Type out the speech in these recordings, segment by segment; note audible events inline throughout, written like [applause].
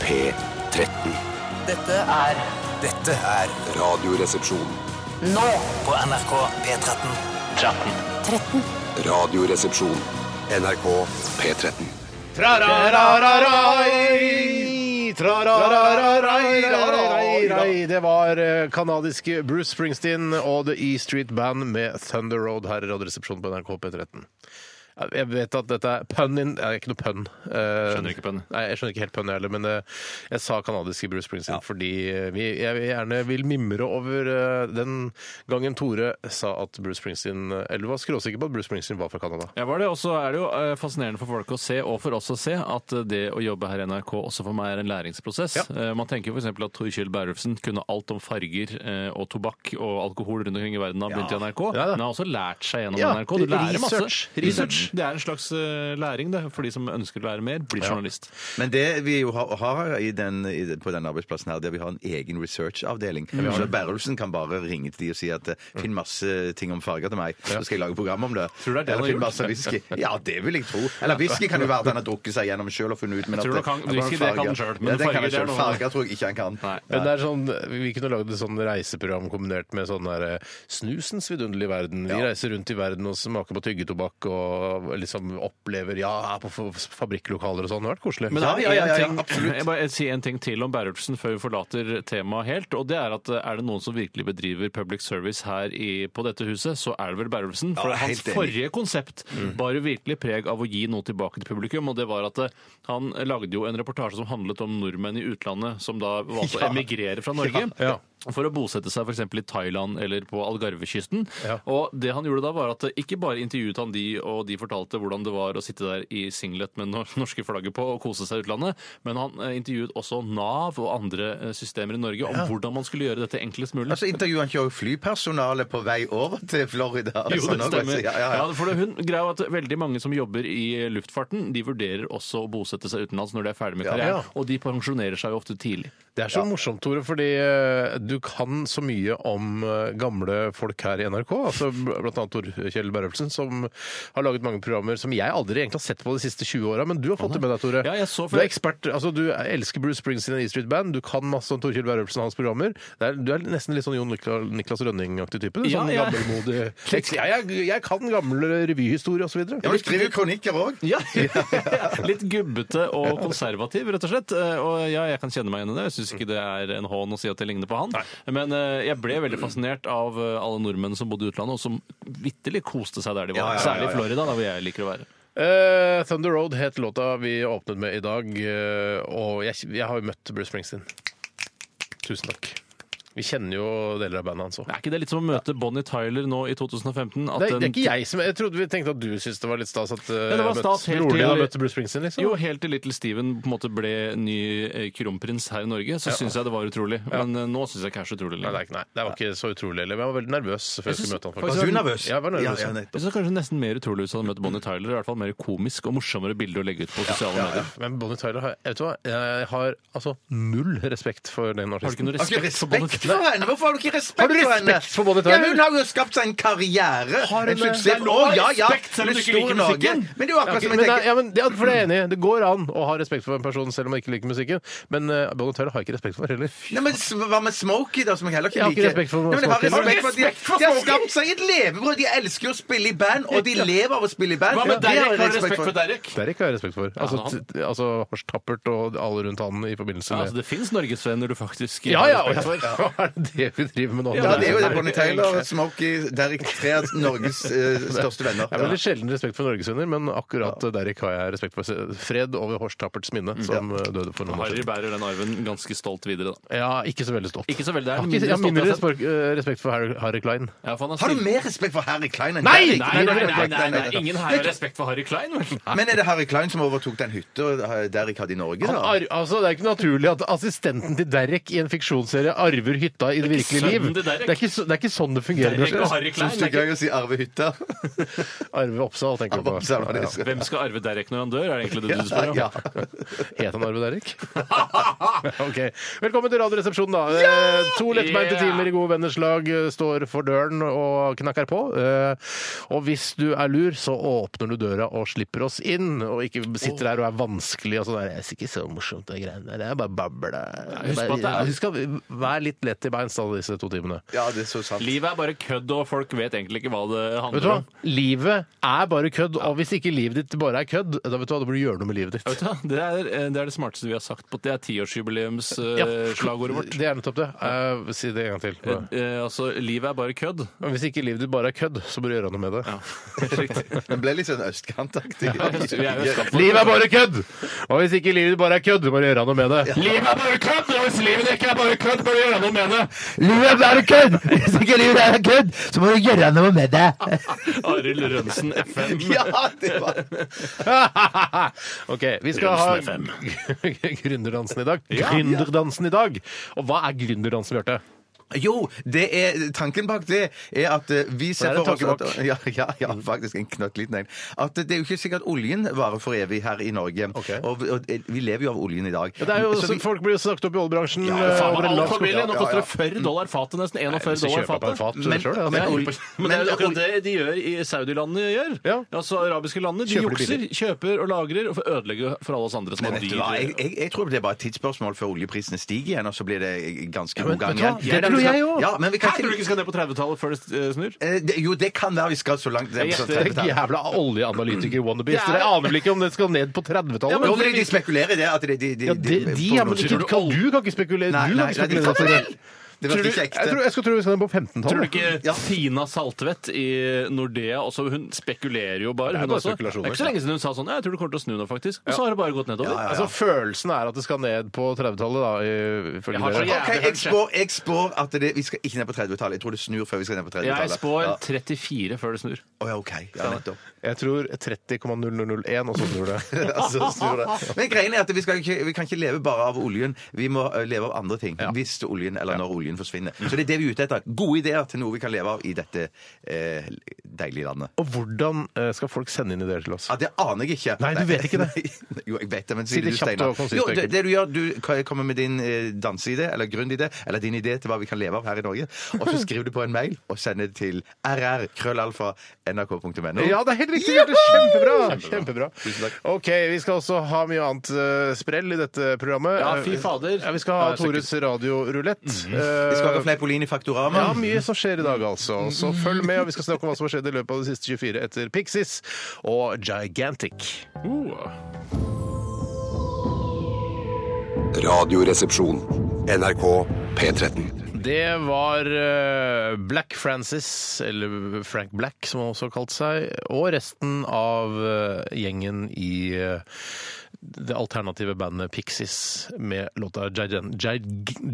P13. Dette er Dette er Radioresepsjon. nå på NRK P13. Radioresepsjon. NRK P13. Trararararai! Trararararai! Rarararai! Det var eh, kanadiske Bruce Springsteen og The E Street Band med Thunder Road her i Radioresepsjonen på NRK P13. Jeg vet at dette er pun in Det er ikke noe pun. Skjønner ikke pun. Nei, jeg skjønner ikke helt pun, jeg heller, men eh, jeg sa kanadiske Bruce Springsteen fordi eh, vi, jeg vil gjerne vil mimre over eh, den gangen Tore sa at Bruce Springsteen eh, Eller var skråsikker på at Bruce Springsteen var fra Canada. Jeg var det, og så er det jo eh, fascinerende for folk å se, og for oss å se, at eh, det å jobbe her i NRK også for meg er en læringsprosess. Eh, Man tenker f.eks. at Torkjell Berulfsen kunne alt om farger eh, og tobakk og alkohol rundt omkring i verden da han begynte i NRK, Ja, da. men han har også lært seg gjennom Ja, NRK. Du lærer masse. research, research. Det er en slags eh, læring, det, for de som ønsker å lære mer, blir journalist. Men det vi jo har, har i den, i, den- på den arbeidsplassen her, der vi har en egen researchavdeling. Mm. Så Berrelsen kan bare ringe til de og si at eh, finn masse ting om farger til meg, så skal jeg lage program om det. Tror du det er det han Eller har finn gjort? masse [laughs] whisky. Ja, det vil jeg tro. Eller whisky kan jo være at han har drukket seg gjennom sjøl og funnet ut. Men Jeg tror at- nok han- at whisky, det kan farger- han selv, men Ja, det kan farger, han det er selv. noe- Farger tror jeg ikke han kan. Nei. Men det er sånn, Vi kunne lagd et sånn reiseprogram kombinert med sånn der eh, snusens vidunderlige verden. Vi reiser rundt i verden og smaker på tyggetobakk og liksom opplever ja, på f- fabrikklokaler og sånn. Det hadde vært koselig. Men Ja, det ja, er ja, en ja, ting, absolutt. jeg bare si en ting til om Berulfsen før vi forlater temaet helt. og det Er at eh, er det noen som virkelig bedriver public service her i, på dette huset, så er det vel Berulfsen. For Ja, jeg er hans helt enig. Mm. forrige konsept bar jo virkelig preg av å gi noe tilbake til publikum. og det var at eh, Han lagde jo en reportasje som handlet om nordmenn i utlandet som da [laughs] valgte å emigrere fra Norge. Ja. Ja. For å bosette seg f.eks. i Thailand eller på Algarvekysten. Ja. Og det han gjorde da, var at eh, ikke bare intervjuet han de, og de fortalte hvordan det var å sitte der i singlet med nor- [laughs] norske flagget på og kose seg i utlandet, men han eh, intervjuet også Nav og andre eh, systemer i Norge om hvordan man skulle gjøre dette enklest mulig. Altså intervjuer han ikke også flypersonalet på vei over til Florida? Jo, Sånn det også. stemmer. Ja, ja, ja. Ja, for det- hun greier jo at Veldig mange som jobber i luftfarten, de vurderer også å bosette seg utenlands når de er ferdig med Ja. karrieren, og de pensjonerer seg jo ofte tidlig. Det er så morsomt, Tore, fordi eh, du kan så mye om eh, gamle folk her i NRK. altså bl- Blant annet Tor Kjell Berrelsen, som har laget mange programmer som jeg aldri egentlig har sett på de siste 20 åra, men du har fått det med deg, Tore. Ja, jeg så du for- er ekspert. altså Du elsker Bruce Springsteen og E Street Band. Du kan masse om Tor Kjell Berrelsen og hans programmer. Det er, du er nesten litt sånn Jon Nikla- Niklas Rønning-aktig type. Du, Ja, sånn jeg- gammelmodig jeg, jeg, jeg kan gamle revyhistorie osv. Ja, du skriver jo kronikker òg. [laughs] Ja, Litt gubbete og konservativ, rett og slett. Eh, Og ja, jeg kan kjenne meg igjen i det. Jeg syns ikke det er en hån å si at jeg ligner på han. Men eh, jeg ble veldig fascinert av eh, alle nordmenn som bodde i utlandet, og som vitterlig koste seg der de var. Ja, ja, ja, Særlig ja. i Florida, da hvor jeg liker å være. Eh, Thunder Road het låta vi åpnet med i dag, eh, og jeg, jeg har jo møtt Bruce Springsteen. Tusen takk. Vi kjenner jo deler av bandet hans òg. Er ikke det litt som å møte Bonnie Tyler nå i 2015? At Det, er- det er en- ikke jeg som Jeg trodde vi tenkte at du syntes det var litt stas at eh, det var møtt- stas helt broren din har til- møtt Bruce Springsteen, liksom. Jo, helt til Little Steven på en måte ble ny eh, kronprins her i Norge, så synes syns jeg det var utrolig. Men eh, nå syns jeg ikke det er så utrolig Nei, det, lenger. er, ikke- nei, det var ikke så utrolig heller. men Jeg var veldig nervøs før jeg Jeg skulle møte han. synes- faktisk. Var du nervøs? Ja, jeg var nervøs. altså. Ja, Ja, ja, nettopp. Jeg synes det er kanskje nesten mer utrolig hvis jeg hadde møtt Bonnie Tyler. I hvert fall mer komisk og morsommere bilde å legge ut på sosiale medier. Men Bonnie Tyler har jeg, vet du hva, jeg har altså null respekt for den Har du ikke artisten. noe Har du ikke respekt for Bonnie respekt Tyler? for henne? Hvorfor har du ikke respekt, Har du respekt for Bonnie Tyler? Ja, hun har jo skapt seg en karriere. Har hun en det? suksess. Det er lov å ha Å, ja, ja. respekt, selv om Hun du ikke slo liker Norge. musikken. Men det er jo akkurat Ja, som men, jeg det- tenker. ja, men, ja, for det er jeg enig i. Det går an å ha respekt for en person selv om man ikke liker musikken, men uh, Bonnie Tyler har jeg ikke respekt for heller. Nei, men s- Hva med Smokey, da, som jeg heller ikke Jeg har liker? ikke respekt for Nei, men jeg har Smokey. Har du respekt for at de, de har skapt seg et levebrød. De elsker jo å spille i band, og de lever av å spille i band. Hva med Det Derek? jeg Har du respekt for Derek? Det er ikke jeg respekt for. Altså, han- t- altså Horst Tappert og alle rundt han i forbindelse Ja, med altså, det fins norgesvenner du faktisk Ja, har ja, respekt og- [laughs] Hva er det vi driver med nå? Ja, det er jo det. Nei, Bonnie Taylor, Smokey, Derek. Tre av Norges eh, største venner. Jeg har veldig sjelden respekt for norgesvenner, men akkurat Derek har jeg respekt for. Fred over Horst Tapperts minne, som eh, døde for noen år Harry siden. bærer den arven ganske stolt videre, da. Ja, ikke så veldig stolt. Ikke så veldig, Jeg det er har mindre ikke- jeg har stolt mindre jeg har respekt, eh, respekt for Harry, Harry Klein. Ja, for han har Har du stilt- mer respekt for Harry Klein enn Nei! Derek? Nei, nei, nei, nei, nei, nei. ingen her har respekt for Harry Klein, vel? Men er det Harry Klein som overtok den hytta Derek hadde i Norge, Han da? ar altså, det er ikke naturlig at assistenten til Derek i en fiksjonsserie arver hytta i det, virkelige liv. sønnen til Det Derek. er, ikke, så- det er ikke sånn det fungerer. Derek og Bjarte. Harry Som Klein. det er stykket å si Arve [laughs] Hytta. Arve Oppsal, tenker du på. Så er det det. ikke- Hvem skal arve Derek når han dør, er det egentlig det du [laughs] spør om? Ja. Het han Arve Derek? ok. Velkommen til Radioresepsjonen, da. Eh, to lettbeinte Yeah! timer i gode venners lag eh, står for døren og knakker på. Eh, og hvis du er lur, så åpner du døra og slipper oss inn, og ikke sitter der og er vanskelig og sånn der. Det er ikke så morsomt, det greiene der. Det er bare bable. husk på at det er- Husk at vær litt lett i beins da, disse to timene. ja, det er så sant. [laughs] Livet er bare kødd, og folk vet egentlig ikke hva det Vet du handler hva? om. Livet er bare kødd, og hvis ikke livet ditt bare er kødd, da vet du hva, da burde du gjøre noe med livet Ja, Vet ditt. du hva? Det er, eh, det er det smarteste vi har sagt på. Det er Ja. tiårsjubileumsslagordet vårt. Det er nettopp det. Eh, si det en gang til. Bare. Eh, altså, livet er bare kødd. Men hvis ikke livet ditt bare er kødd, så bør du gjøre noe med det. [laughs] Den ble litt sånn østkantaktig. [laughs] Vi er jo skapt for Livet er bare kødd! Og hvis ikke livet ditt bare er kødd, du må gjøre noe med det. Livet er bare kødd! Og hvis livet ikke er bare kødd, bør du gjøre noe med det! Livet er bare kødd! Hvis ikke livet er kødd, så må du gjøre noe med det. Arild Rønnsen [laughs] FM. [laughs] Ja, det var [laughs] ok, vi skal ha [laughs] gründerdansen i dag. Gründerdansen i dag! Og hva er gründerdansen, Bjarte? Jo, det er, tanken bak det er at eh, vi ser er det for oss tankebak. at, ja, ja, ja, faktisk en knøttliten en. At det er jo ikke sikkert oljen varer for evig her i Norge. Ok. Og, og eh, vi lever jo av oljen i dag. Det er jo Så så vi- Folk blir jo sagt opp i oljebransjen. Ja, eh, Faen, over en all lav sko- familie, Ja, Nå ja, koster ja. det 40 dollar fatet, nesten. Hvis 41 du dollar kjøper på en fatet. fat Men- selv, ja. men- Men- olje- Men det er jo akkurat det de gjør i Saudi-landene gjør. Ja. Altså arabiske landene. De Kjøper de jukser, kjøper og lagrer og ødelegger for alle oss andre som Men har vet du hva, jeg, dyr. jeg, jeg tror det er bare et tidsspørsmål før oljeprisene stiger igjen, og så blir det eh, ganske god vet gang du hva? igjen. Det tror jeg også. Ja, men vi kan Hæ, tror du ikke vi skal ned på 30-tallet før det eh, snur? Eh, det- Jo, det kan være vi skal så langt. Jeg [laughs] gjetter. Det er Jævla Mm. oljeanalytiker-wannabes. Det er- Dere aner vel ikke om det skal ned på Jo, 30-tallet? men de- de spekulerer i det. At de, de, de, Ja, det, de, ja, men ikke, kan, du kan ikke spekulere. Nei, du nei, kan ikke nei, de spekulere. kan vel! Det var Tror du- ikke jeg, ekte. tror, jeg skal tro vi skal ned på 15-tallet. Tror du ikke Ja. Tina Saltvedt i Nordea også, hun spekulerer jo bare. Det er Hun bare også. Det spekulasjoner. er ikke så lenge siden hun sa sånn «Ja, 'Jeg tror det kommer til å snu nå', faktisk. Og så har det bare gått nedover. Altså, følelsen er at det skal ned på 30-tallet, da, i- ifølge Jeg har så dere. jævlig- Ok, jeg spår, jeg spår at det, vi skal ikke ned på 30-tallet. Jeg tror det snur før vi skal ned på 30-tallet. Jeg spår Ja. 34 før det snur. Å, ja, ok. Ja, nettopp. Jeg tror 30,0001, og så snur [laughs] det. altså, snur det. Men greien er at vi, skal ikke, vi kan ikke leve bare av oljen. Vi må eh, leve av andre ting. Hvis oljen, eller når oljen forsvinner. Så det er det vi er ute etter. Gode ideer til noe vi kan leve av i dette eh, deilige landet. Og hvordan eh, skal folk sende inn ideer til oss? Ja, Det aner jeg ikke. Nei, du vet ikke det. Nei. Jo, jeg vet det, men Si sier det du, kjapt Steinar. og konsist, Jo, det, Erik. det du gjør, du kommer med din eh, danseidé, eller gründidé, eller din idé til hva vi kan leve av her i Norge, og så skriver du på en mail og sender det til rr.krøllalfa.nrk.no. Ja, det er helt riktig! Bjarte. Kjempebra! Kjempebra. Tusen takk. OK, vi skal også ha mye annet eh, sprell i dette programmet. Ja, fy fader. Ja, vi skal ha Ja, sikkert. Mhm. Tores radiorulett. Vi skal Eh, ha Fleipolini Faktorama. Ja, mye som skjer i dag, altså. Så følg med, og vi skal snakke om hva som har skjedd i løpet av de siste 24 etter Pixies og Gigantic. Radioresepsjon. NRK P13. Det var eh, Black Francis, eller Frank Black som han også har kalt seg, og resten av eh, gjengen i eh, det alternative bandet Pixies med låta Gigan Gig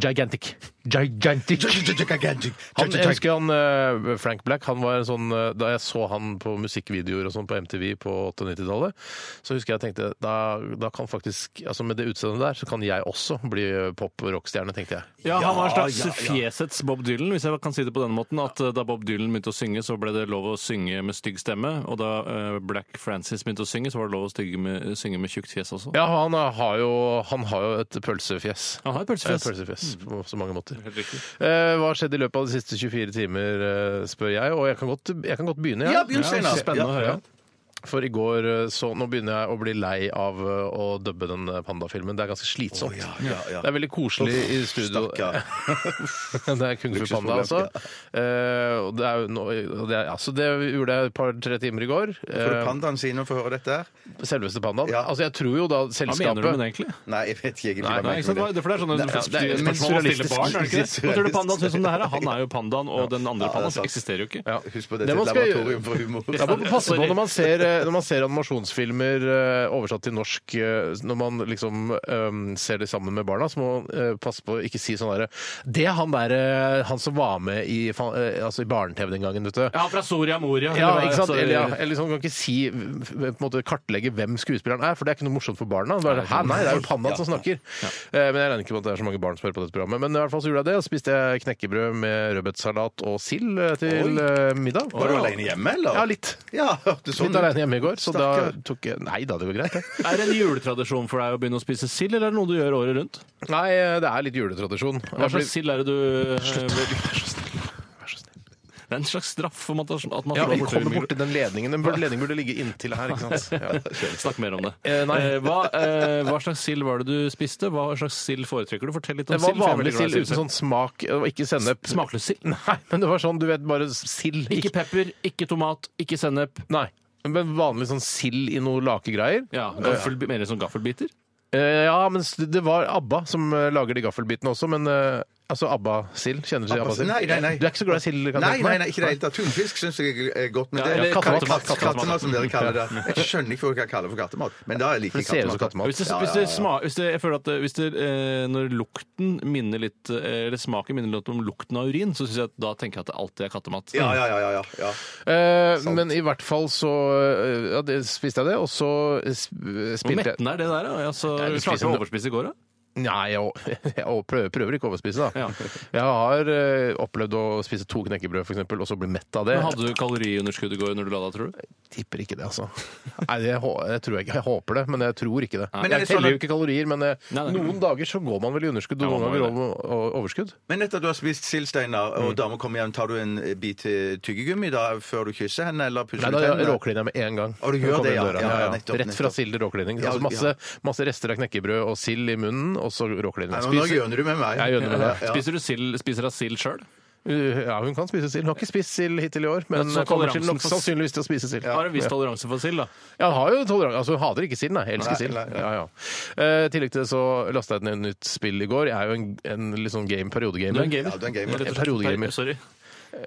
Gigantic. Gigantic. Han jeg husker han, eh, Frank Black han var en sånn, eh, Da jeg så han på musikkvideoer og sånn på MTV på 98-tallet, så husker jeg tenkte da, da kan faktisk, altså med det utseendet der, så kan jeg også bli pop-rockstjerne, tenkte jeg. Ja, han var en slags fjesets Bob Dylan, hvis jeg kan si det på den måten. At eh, da Bob Dylan begynte å synge, så ble det lov å synge med stygg stemme. Og da eh, Black Francis begynte å synge, så var det lov å stygge med, synge med tjukt fjes også. Ja, han har jo, han har jo et pølsefjes. Han har et Et pølsefjes. pølsefjes Mm. på så mange måter. Helt riktig. Eh, hva har skjedd i løpet av de siste 24 timer, eh, spør jeg. Og jeg kan godt, jeg kan godt begynne. jeg. Ja, begynn, Steinar. Spennende å høre. For i går eh, så Nå begynner jeg å bli lei av eh, å dubbe den eh, pandafilmen. Det er ganske slitsomt. Det er veldig koselig i studio. stakkar. [laughs] det er Kung Fu Panda, altså. Eh, og det, er, jo nå- og det, er, ja, så det gjorde jeg et par-tre timer i går. Får du Eh, pandaen sin nå for å høre dette her? selveste pandaen. Ja. Altså, jeg tror jo da Hva selskapet mener du med det, egentlig? Nei, jeg vet ikke egentlig Nei, hva nei, jeg ikke sant? mener med Det- For det er sånne ja, det er- men spørsmål å stille surrealistisk. barn, er det ikke det? Hva tror du pandaen syns om det her? da? Han er jo pandaen, og den andre Ja, det er pandaen sant. eksisterer jo ikke. Ja. Husk på det, Det det er man et skal laboratorium for humor. Da må man passe på når man ser eh, eh, når man ser animasjonsfilmer eh, oversatt til norsk, eh, når man liksom eh, ser det sammen med barna, så må man eh, passe på å ikke si sånn derre Det er han derre Han som var med i, fa- eh, altså i barne-TV den gangen, vet du. Ja, fra Soria Moria. Ja, Eller, ikke sant? altså, Eller, ja, eller liksom, man kan ikke si, på en måte kartlegge hvem skuespilleren er, for det er ikke noe morsomt for barna. Det er Bare, Hæ, nei, det er jo pandaen som snakker. Eh, Men jeg regner ikke med at det er så mange barn som hører på dette programmet. Men i hvert fall så gjorde jeg det, og spiste jeg knekkebrød med rødbetsalat og sild eh, til eh, middag. Var du alene hjemme, eller? Ja, litt. Ja, hørtes sånn Litt ut. alene hjemme i går, så da Stakkar. tok jeg Nei da, det går greit. det. Er det en juletradisjon for deg å begynne å spise sild, eller er det noe du gjør året rundt? [laughs] Nei, eh, det er litt juletradisjon. Hva slags sild er det du eh, Slutt. Det er en slags straff om at at man Ja, slår vi borti kommer mikro- borti den ledningen. Den burde, ledningen burde ligge inntil her, ikke [laughs] sant. Ja. Snakk mer om det. Eh, nei. Eh, hva, eh, hva slags sild var det du spiste? Hva slags sild foretrekker du? Fortell litt om Det var sild. for jeg er Eh, vanlig veldig glad i sild uten sånn smak, og ikke sennep. Smakløs sild. Nei, men det var sånn, du vet, bare sild. Ikke pepper, ikke tomat, ikke sennep. Nei. Men vanlig sånn sild i noe lakegreier? Ja, gaffel, Mer sånn gaffelbiter. Eh, ja, men s- det var ABBA som eh, lager de gaffelbitene også, men eh, altså ABBA-sild. Kjenner du til ABBA-sild? Nei, nei, nei. altså. Du er ikke så glad i sild? kan jeg Nei, tenke nei, meg? nei, ikke i det hele tatt. Tunfisk syns jeg er godt. Men Ja, det eller er kattemat. kattemat, Kattemat. kattemat, som dere kaller det. Jeg skjønner ikke hva dere kaller det for kattemat, men da For liker jeg det ser ut som kattemat. Hvis det, hvis det, sma, hvis det, jeg føler at det- hvis det, eh, Når lukten minner litt eh, Eller smaken minner litt om lukten av urin, så synes jeg at da tenker jeg at det alltid er kattemat. Ja, ja, ja. ja, ja, ja. Eh, men i hvert fall så eh, ja, det, spiste jeg det, og så sp- Hvor spilte jeg mettende er det der, da? Altså, Ja, du klarte spiser du å noe. overspise i går, da? Nei, jeg, [laughs] jeg prøver, prøver ikke å overspise, da. Ja. Jeg har eh, opplevd å spise to knekkebrød, f.eks., og så bli mett av det. Men hadde du kaloriunderskudd i går når du la deg, tror du? tipper ikke det, altså. Nei, det, hå- jeg tror jeg ikke. Jeg håper det, men jeg tror ikke det. Men er jeg det sånn teller at- jo ikke kalorier, men eh, Nei, nei. noen dager så går man vel i underskudd, Ja, og noen man må ganger jo over, o- overskudd. Men etter at du har spist sild, Steinar, Mm. og dama kommer hjem, tar du en bit eh, tyggegummi da før du kysser henne, eller pusser Nei, du da tennene? råkliner jeg med en gang. Å, du Når jeg gjør kommer det, inn ja. døra. Ja, ja, nettopp, Rett fra nettopp. sild til råklining. Ja, Altså masse, masse rester av knekkebrød og sild i munnen, og så råkliner Nei, jeg. men Nå gjøner du med meg. Jeg gjøner med deg. Ja. Spiser du sild, spiser av sild sjøl? Uh, Ja, hun kan spise sild. Hun har ikke spist sild hittil i år, men Men så kommer til toleransen nok for- sannsynligvis til å spise sild. Har en viss toleranse for sild, da. Ja, han har jo toleranse. Altså, hun hater ikke sild, nei. Elsker Nei, sild. nei, nei. Ja, ja. Eh, I tillegg til det så lasta jeg ned et nytt spill i går. Jeg er jo en, en litt sånn game, Du er en periodegamer. gamer. Ja, du er en gamer. Rett og slett. En periodegamer. Sorry.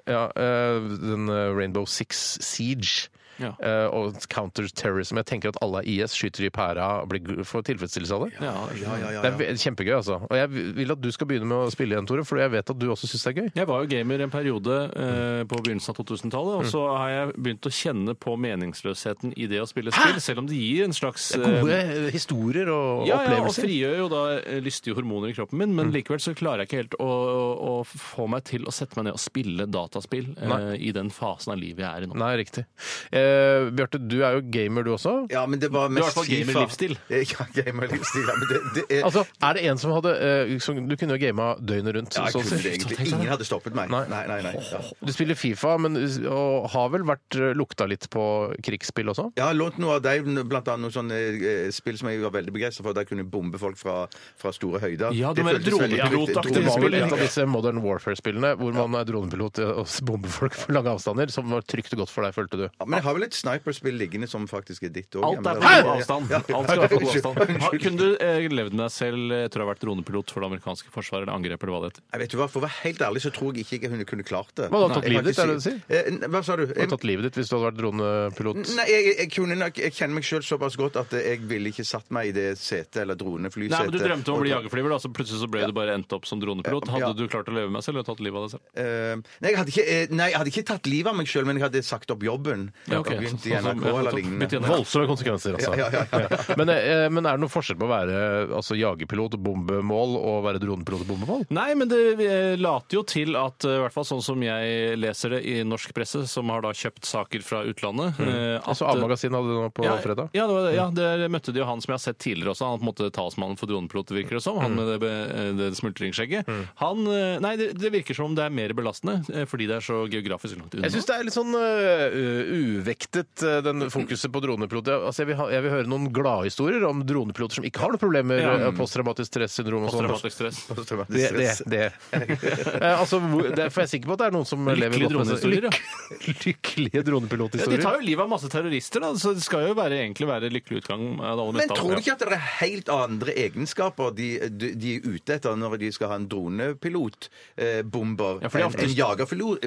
Ja, eh, den eh, Rainbow Six Siege. Ja. eh, og counter-terrorism. Jeg tenker at alle er IS skyter i pæra og blir gu- får tilfredsstillelse av det. Ja, Ja, ja, ja, Det er ja. ve- kjempegøy, altså. Og jeg vil at du skal begynne med å spille igjen, Tore, for jeg vet at du også syns det er gøy. Jeg var jo gamer en periode eh, på begynnelsen av 2000-tallet, og så har jeg begynt å kjenne på meningsløsheten i det å spille spill, selv om det gir en slags eh, Gode eh, historier og ja, ja, og opplevelser. frigjør jo da eh, lystige hormoner i kroppen min, men likevel så klarer jeg ikke helt å, å, å få meg til å sette meg ned og spille dataspill eh, Nei. i den fasen av livet jeg er i nå. Nei, riktig. Eh, Bjarte, du er jo gamer, du også. Ja, men det var mest hvert fall FIFA. gamer-livsstil. [laughs] Ja, gamer-livsstil. Ja, men det, det er... Altså, er det en som hadde eh, som, Du kunne jo gama døgnet rundt. Ja, jeg så- kunne det egentlig. Ingen hadde stoppet meg. Nei. Nei, nei, nei. Ja. du spiller Fifa, men og har vel vært eh, lukta litt på krigsspill også? Jeg har lånt noe av deg, blant annet noen sånne eh, spill som jeg var veldig begeistra for. Der kunne jeg bombe folk fra, fra store høyder. Ja, du mener føltes veldig dronepilotaktig trygt. Det var Dronespill, vel Dronespill, et av ja. disse Modern Warfare-spillene hvor man er dronepilot eh, og bomber folk for lange avstander, som var trygt og godt for deg, følte du. Ja, Men jeg har vel et sniperspill liggende som faktisk er ditt òg. Alt er på god avstand. Alt skal være på god avstand. Har- Kunne du eh, levd med deg selv etter å ha vært dronepilot for det amerikanske forsvaret eller angrep eller hva det heter? Jeg vet du hva, For å være helt ærlig så tror jeg ikke jeg kunne- kunne klart det. Men du hadde tatt Jeg livet ditt, kan er det ikke det du si- Eh, n- Hva sa du? Du hadde tatt livet ditt hvis du hadde vært dronepilot. Nei, jeg, jeg, kunne nok, jeg kjenner meg sjøl såpass godt at jeg ville ikke satt meg i det setet eller droneflysetet. Nei, men Du drømte om å bli Og- jagerflyver, da, så plutselig så ble du bare endt opp som dronepilot. Hadde Ja. du klart å leve med deg selv eller tatt livet av deg selv? Eh, nei, jeg hadde ikke, eh, nei, jeg hadde ikke tatt livet av meg sjøl, men jeg hadde sagt opp jobben. Ja, ok. Og begynt [laughs] i Sånn som- NRK Begynt i eller [laughs] lignende. NRK. Voldsomme konsekvenser, altså. Ja, ja, ja, ja. [laughs] Men, eh, men er det noen forskjell på å være altså, jagerpilot og bombemål og være dronepilot og bombemål? Nei, men det eh, later jo til at eh, i hvert fall sånn som jeg leser det i norsk presse, som har da kjøpt saker fra utlandet eh, at- Altså A-magasinet hadde du nå på ja, fredag. Ja, det var, ja, der møtte de jo han som jeg har sett tidligere også. Han er på en måte talsmannen for dronepiloter, virker det som. Mm. Han med det, be- eh, det smultringskjegget. Han eh, Nei, det, det virker som om det er mer belastende eh, fordi det er så geografisk langt unna. Jeg syns det er litt sånn øh, uvektet, øh, den fokuset på dronepiloter. Jeg- Altså, jeg, vil ha, jeg vil høre noen gladhistorier om dronepiloter som ikke har noen problemer Ja. med posttraumatisk stressyndrom og sånn. Posttraumatisk stress. Det, det, det. Eh, altså, hvor- det- for jeg er sikker på at det er noen som lever Lykkelige godt med dronehistorier, ja. Lykkelige Ja, de tar dronepilothistorier. jo livet av masse terrorister, da, så det skal jo være, egentlig være lykkelig utgang. av det aller Men meste av tror det. du ikke at det er helt andre egenskaper de, de, de er ute etter når de skal ha en dronepilotbomber? Eh, bomber, Ja, for de er enn ofte- En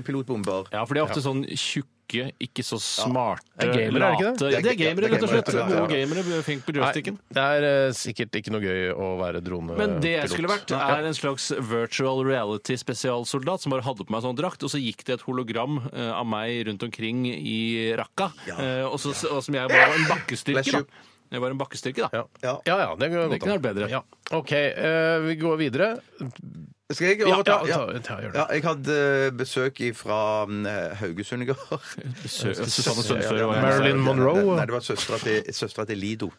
jagerpilotbomber? Ja, for de er ofte sånn tjukke kloke, ikke så smarte, Det er gamere, er det ikke det? late- Ja, det er gamere, rett og slett. gamere, ja. Gode gamere, flink på joysticken. Nei, det er eh, sikkert ikke noe gøy å være dronepilot. Men det jeg skulle vært, er en slags virtual reality-spesialsoldat som bare hadde på meg sånn drakt, og så gikk det et hologram eh, av meg rundt omkring i Raqqa, eh, og, så, og som jeg var en Bless bakkestyrke, you. da. Jeg var en bakkestyrke, da. Ja. Ja. ja, det går Det godt. kunne vært bedre. Ja. OK, eh, vi går videre. Skal jeg Ja, overta? ja, ta- ta- gjør det. Ja, jeg hadde besøk fra Haugesund i går. [laughs] Sø- Susanne Sundfør og jeg. Marilyn Monroe? Nei, det var søstera til, søstra til Lido.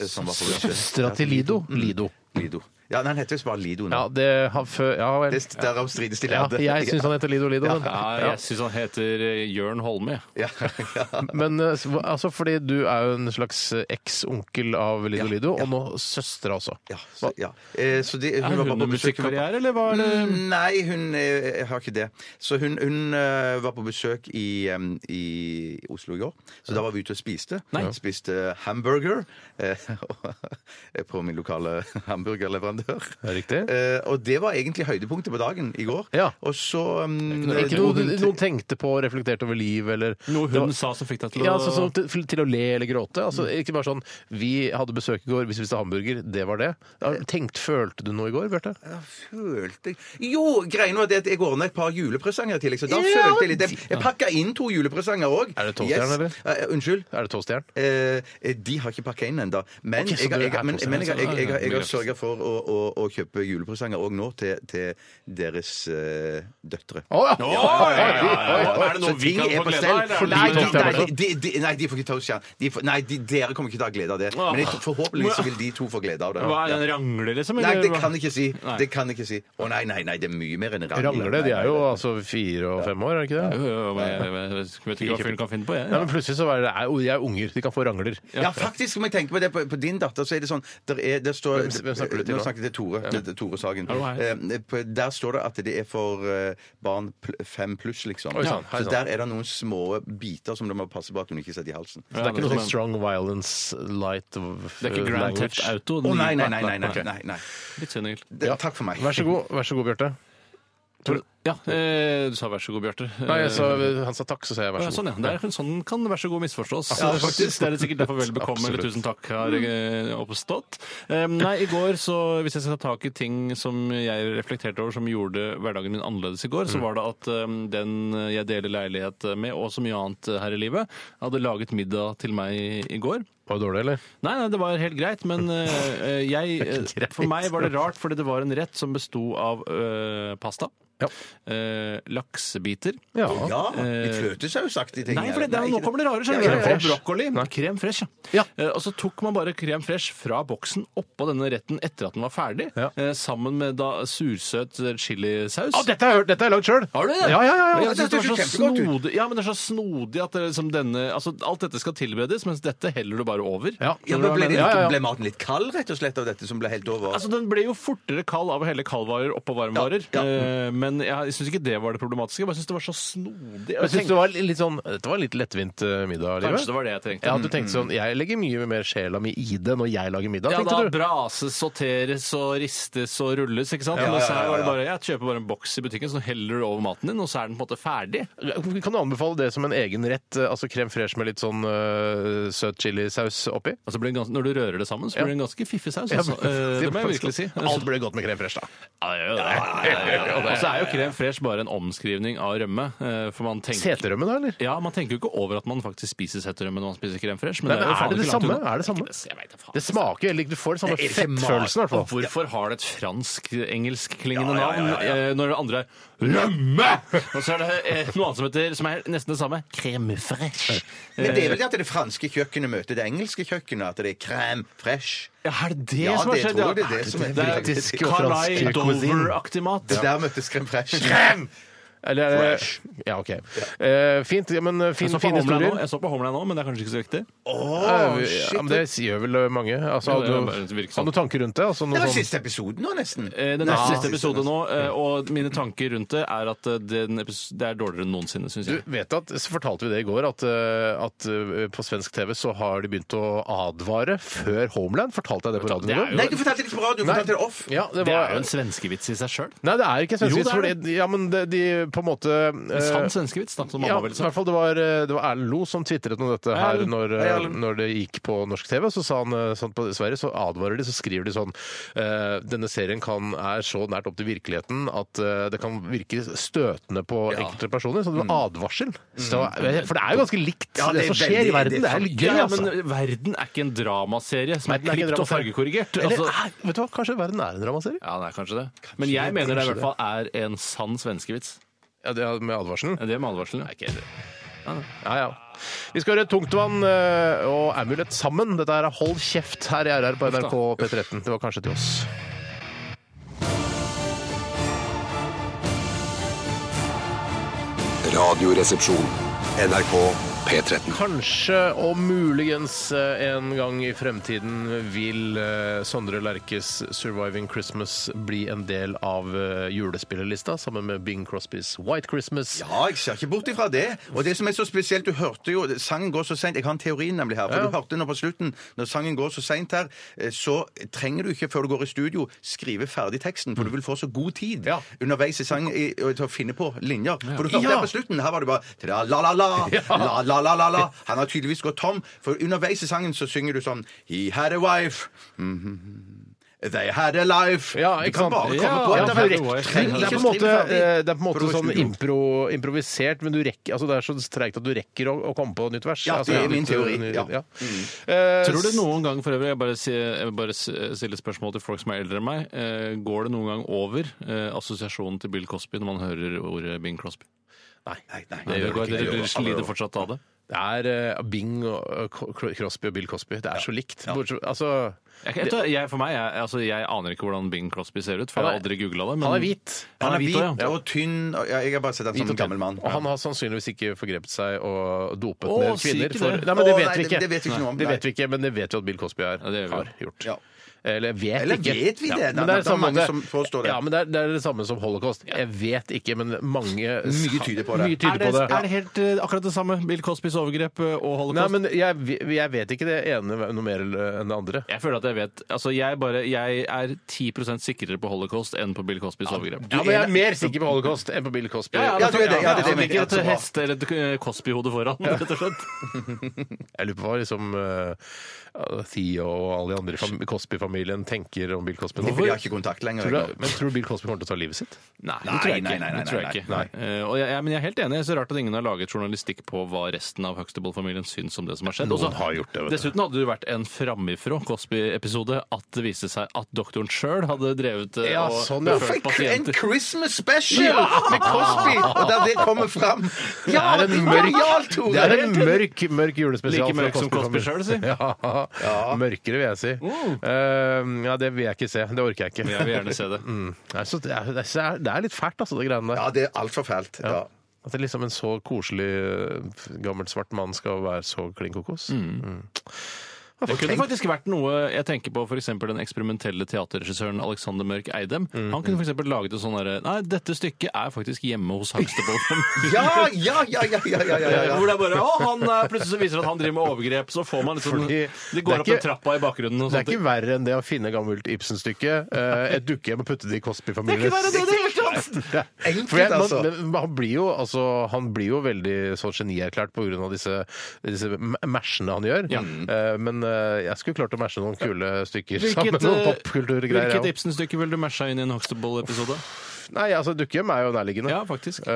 eh, Som var på besøk. Søstera til Lido? Mm, Lido. Lido. Ja, nei, han heter visst bare Lido Ja, nå. det har før Ja vel. Det- Derav strides de Ja, lærde. jeg syns han heter Lido Lido, men, Ja, jeg syns han heter eh, Jørn Holme. jeg. Ja, [laughs] ja. men eh, hva- altså, fordi du er jo en slags eh, eks-onkel av Lido Lido, og nå altså. søstera også. Ja, så, ja. Eh, så de, Er bare hun på en besøk- musikkarriere, eller hva er det? Mm, Nei, hun eh, har ikke det. Så hun, hun eh, var på besøk i, em, i Oslo i går. Så da var vi ute og spiste. Nei. Spiste hamburger eh, [laughs] og- på min lokale hamburgerleverandør. Er det riktig? Eh, og det var egentlig høydepunktet på dagen i går. Ja. Og så um, em, Ikke dro noe Eh, hun du- til- noen tenkte på og reflekterte over liv, eller Noe Det var- hun sa som fikk deg til Mm. å Ja, altså, sånn til, til å le eller gråte. Altså, ikke bare sånn 'Vi hadde besøk i går, vi spiste hamburger', det var det. Ja, Tenkt, Følte du noe i går, Bjarte? Ja, eh, følte jeg Jo, greien var det at jeg ordna et par julepresanger til. Liksom. Da følte jeg litt Jeg, jeg pakka inn to julepresanger òg. Er det tolvstjerne, eller? unnskyld? Er det tolvstjern? Eh, de har ikke pakka inn ennå. Men Ok, så jeg, har- du jeg, er men, positiv. men jeg, har- jeg, jeg, har- jeg Ja, har ja. sørga for å, å, å kjøpe julepresanger òg nå til, til deres eh, døtre. Å ja! Er det noe vi kan få glede av, eller? For Nei, nei, de, tolvstjerne nei, også? de, de, nei, de får ikke tolvstjerne. De får- Nei, de, dere kommer ikke til å ha glede av det. Men jeg, forhåpentligvis så vil de to få glede av det. Hva er det, en rangler, liksom? Nei, eller det hva? kan jeg ikke si. Nei. Det kan jeg ikke si. Å nei, nei, nei, det er mye mer enn en rangler. Rangler, de Nei, er jo nei, nei. altså fire og fem år, er det ikke Jo, det? jo, men jeg, jeg, jeg vet ikke hva fyren kan finne på, jeg. Nei, men plutselig så er det er, jo- de er unger, de kan få rangler. Ja, faktisk, om jeg tenker på det, på, på din datter, så er det sånn der er, der står, Hvem- hvem snakker du til Nå nå? snakker jeg til Tore, til Tore Sagen. Hallo, hei. Eh, på- Der står det at det er for eh, barn pl fem pluss, liksom. Oi, sånn. sant, hei, så sant. der er det noen små biter som du må passe på at hun ikke setter i halsen. Det er ikke noe men- sånn strong violence light of Det er ikke Grand Theft Auto. Å den- nei, nei, nei, nei, nei, Ok. nei, nei. Litt synd, egentlig. Det, Takk for meg. Vær så god, vær så god, Bjarte. Ja, eh, du sa vær så god, Bjarte. Eh, Nei, jeg sa- han sa takk, så sa jeg ja, vær så Sånn, god. ja. Det er, sånn kan vær så god misforstås. Ja, Eh, faktisk. Det er sikkert derfor vel bekomme eller tusen takk har eh, oppstått. Eh, Nei, i går, så hvis jeg skal ta tak i ting som jeg reflekterte over som gjorde hverdagen min annerledes i går, Mm. så var det at eh, den jeg deler leilighet med, og så mye annet her i livet, hadde laget middag til meg i går. Var det dårlig, eller? Nei, nei, det var helt greit, men eh, [laughs] jeg, eh, greit. for meg var det rart, fordi det var en rett som besto av eh, pasta, Ja. eh, laksebiter Ja. Ja, litt fløtesausaktig ting. Nei, for det, det, Nei, nå ikke kommer det rare. skjønner Ja, du. ja, ja. Og brokkoli. Krem fresh, Ja. Eh, og så tok man bare krem fresh fra boksen oppå denne retten etter at den var ferdig, Ja. eh, sammen med da sursøt chilisaus. Å, Ah, dette har jeg hørt! Dette har jeg lagd sjøl! Har du Ja, det? ja, ja, Men ja. Jeg synes det, Det var ser så kjempegodt ut. snodig, ja, men det er så snodig at det, er liksom denne, altså, alt dette skal tilberedes, mens dette heller du bare over. Ja. Ja, men ble, det, Ja, ja, ja. ble maten litt kald rett og slett av dette som ble helt over? Altså, Den ble jo fortere kald av å helle kaldvarer oppå varmvarer. Ja, ja. Eh, Men jeg syns ikke det var det problematiske. Jeg bare syns det var så snodig. Jeg syns det var litt sånn Dette var litt lettvint eh, middag, Kanskje livet. det var det jeg trengte. Jeg hadde tenkt sånn Jeg legger mye mer sjela mi i det når jeg lager middag, Ja, da tenkte du. brases, sorteres og ristes og rulles, ikke sant? Ja, Men så ja, ja, her var det ja. bare, jeg kjøper bare en boks i butikken, så heller du over maten din, og så er den på en måte ferdig. Kan du anbefale det som en egen rett? eh, Altså krem fresh med litt sånn eh, søt chilisaus oppi? Altså blir det gans- når du rører det sammen, så blir det en ganske fiffig saus. Altså. Eh, det må jeg virkelig si. Alt blir godt med krem fresh, da. Ja, det gjør det. Og så er jo krem fresh bare en omskrivning av rømme. eh, For man tenker Seterømme, da, eller? ja, Man tenker jo ikke over at man faktisk spiser seterømme når man spiser krem fresh. Men Nei, det er, men jo faen er det det ikke langt samme? unna. Er det samme? Jeg vet da faen. Det smaker heller ikke Du får den samme Det er ikke mat. fettfølelsen, i hvert fall. Hvorfor har det et fransk-engelsk-klingende Ja, ja, ja, ja, ja. navn eh, når det andre er rømme? Og så er det eh, noe annet som heter, som er nesten det samme, crème fraîche. Men det er vel det at det franske kjøkkenet møter det engelske kjøkkenet, at det er crème fresh. Ja, er det det Ja, som har det skjedd? tror jeg det er det som er britisk og Carlai fransk cuisine. Dover-aktig mat. Det der møttes crème fresh. Eller er det Fresh. Ja, OK. Eh, fint. Ja, men eh, fin, Jeg så, på fin Homeland Altså, nå, historie. jeg så på Homeland nå, men det er kanskje ikke så viktig. Åh, shit. Ja, men det gjør vel eh, mange. Altså, Ja, det er hadde bare- det du hadde virker sånn. du tanker rundt det? Altså, noe Det var sånn- siste episoden nå, nesten. Eh, Den Nei, er siste siste episode nå, eh, og mine tanker rundt det er at eh, den epis- det er dårligere enn noensinne, syns jeg. Du vet at, så fortalte vi det i går, at, eh, at eh, på svensk TV så har de begynt å advare før Homeland. Fortalte jeg det på radioen i Det er går? jo- Nei, du fortalte det ikke på radio. Du fortalte det off. Ja, det, Det var, er jo en svenskevits i seg sjøl. Nei, det er ikke svensk Jo, vits, det er fordi- ja, men de, de på en måte eh, En sann svenskevits, da, som ja, mamma i ville sagt. hvert fall det var, eh, det var Erlend Lo som tvitret om dette her Erlend. når, Hei, eh, Erlend. når det gikk på norsk TV. Så sa han eh, sånn på Sverige, så advarer de, så skriver de sånn eh, Denne serien kan, er så nært opp til virkeligheten at eh, det kan virke støtende på enkelte personer. Så det var advarsel. Så, eh, for det er jo ganske likt det, Ja, det er som skjer veldig- i verden. det- Det er litt gøy, Ja, altså. men eh, verden er ikke en dramaserie som er Verden er ikke en klippet og dramaserie. fargekorrigert. Eller, Altså, er- vet du hva, kanskje verden er en dramaserie? ja, nei, kanskje det. Men jeg mener det i hvert fall er en sann svenskevits. Ja, det er med advarselen? Er Det med advarselen. ja? Mm. Ja, ja. Vi skal høre Tungtvann eh, og Amulet sammen. Dette her er Hold kjeft her i RR på NRK P13. Det var kanskje til oss. Radioresepsjon. NRK P13. Kanskje og muligens eh, en gang i fremtiden vil eh, Sondre Lerches 'Surviving Christmas' bli en del av eh, julespillerlista, sammen med Bing Crosbys 'White Christmas'. Ja, jeg ser ikke bort ifra det. Og det som er så spesielt, du hørte jo Sangen går så seint. Jeg har en teori nemlig her. For du hørte nå på slutten, når sangen går så seint her, eh, så trenger du ikke før du går i studio, skrive ferdig teksten, for du vil få så god tid Mm. Ja. underveis i sangen i- og til å finne på linjer. For du hørte Ja. her på slutten, her var det bare [laughs] tra-la-la-la, la-la-la-la-la. Han har tydeligvis gått tom, for underveis i sangen så synger du sånn He had a wife. Mhm. They had a life. Ja, du ikke kan sant? bare komme Ja, på ja, det. er det bare- var- trenger Det er på ikke å en måte, skrive ferdig. eh, det er på en For å måte gå i sånn studio. impro, improvisert, men du rekker, altså det er så treigt at du rekker å, å komme på nytt vers. Ja, det altså, er min nytt- teori, ja. Mm. Eh, Tror du noen gang for øvrig, jeg bare, si- jeg vil bare s- stille et spørsmål til folk som er eldre enn meg, eh, går det noen gang over eh, assosiasjonen til Bill Cosby når man hører ordet Bing Crosby? Nei, nei, Det gjør det går ikke ikke. det. Det Dere gjør- lider fortsatt av det. Det er eh, Bing og eh, Co- Crosby og Bill Cosby. Det er så likt. Bortsett, altså, Jeg, vet du, jeg, for meg, jeg, altså, jeg aner ikke hvordan Bing Crosby ser ut, for jeg Han er- har aldri googla det. men- han er hvit. Han er hvit også, ja. og tynn. og- Ja, jeg har bare sett ham som Hvit en og gammel mann. tynn. Og han har sannsynligvis ikke forgrepet seg og dopet Å, ned si ikke kvinner. det. For, nei, men det Å, vet nei, vi det- ikke. det vet vi ikke noe om, Det nei. vet vi ikke, men det vet vi at Bill Cosby er, Ja, det gjør vi. har gjort. Ja. Eller vet Eller ikke. vet vi det? Ja, Det er- men det er det er det samme mange det- som påstår det. Ja, men det er, det er det samme som holocaust. Jeg vet ikke, men mange Mye tyder på det. Mye tyder er det, på det. er det helt eh, akkurat det samme? Bill Cosbys overgrep eh, og holocaust? Nei, men jeg, ve- jeg vet ikke det ene noe mer enn det andre. Jeg føler at jeg vet Altså, jeg, bare, jeg er 10 sikrere på holocaust enn på Bill Cosbys overgrep. Ja, men jeg er mer sikker på holocaust enn på Bill Cosby. ja, du er det. Ja, det er det jeg jeg mener. liker et Ja, så bra. heste- eller et eh, Cosby-hode foran, rett og slett. Jeg lurer på hva liksom eh, Theo og alle de andre i fam- Cosby-familien tenker om Bill Cosby. nå. Hvorfor? De har ikke kontakt lenger. Tror du, men tror du Bill Cosby kommer til å ta livet sitt? Nei, det Nei, tror jeg nei, ikke. nei, nei, Det tror jeg nei, ikke. Eh, og jeg, jeg, men jeg er helt enig. Det er så rart at ingen har laget journalistikk på hva resten av Huxtable-familien syns om det som har skjedd. Noen Også- har gjort det, vet du. Dessuten hadde det jo vært en framifrå Cosby-episode at det viste seg at doktoren sjøl hadde drevet eh, Ja, og sånn, ja. befølt Hvorfor ikke en pasienter. Christmas special med Cosby, og der det kommer fram? Ja, Det er en mørk, genialt, Tore! det er en mørk, mørk julespesial. Like mørk fra som Cosby selv, si. [laughs] Ja, Mørkere, vil jeg si. Eh, ja, det vil jeg ikke se. Det orker jeg ikke. [laughs] Jeg vil gjerne se det. Mm. Nei, så det, er, det er- det er litt fælt, altså, det greiene der. Ja, det er altfor fælt. Ja. At det liksom en så koselig eh, gammel svart mann skal være så klin kokos. Det kunne faktisk vært noe Jeg tenker på f.eks. den eksperimentelle teaterregissøren Alexander Mørk Eidem. Han kunne f.eks. laget et sånn derre Nei, dette stykket er faktisk hjemme hos Hagstebold. Ja, ja, ja, ja, ja, ja, [laughs] ja, ja. Hvor det er bare Å, han eh, plutselig så viser det at han driver med overgrep, så får man litt sånn Fordi det er Det går opp den ikke- trappa i bakgrunnen og Det er sånt. ikke verre enn det å finne gammelt Ibsen-stykke, eh, et dukkehjem og putte det i Cosby-familien. Enkelt, For jeg, man, altså. men han, blir jo, altså, han blir jo veldig sånn genierklært pga. disse, disse m- matchene han gjør. Eh, men eh, jeg skulle klart å matche noen kule stykker sammen med noen eh, popkulturgreier. hvilket jeg også. Ibsen-stykke ville du masha inn i en Huxtable-episode? Nei, altså Dukkehjem er jo nærliggende. Ja, faktisk. Eh,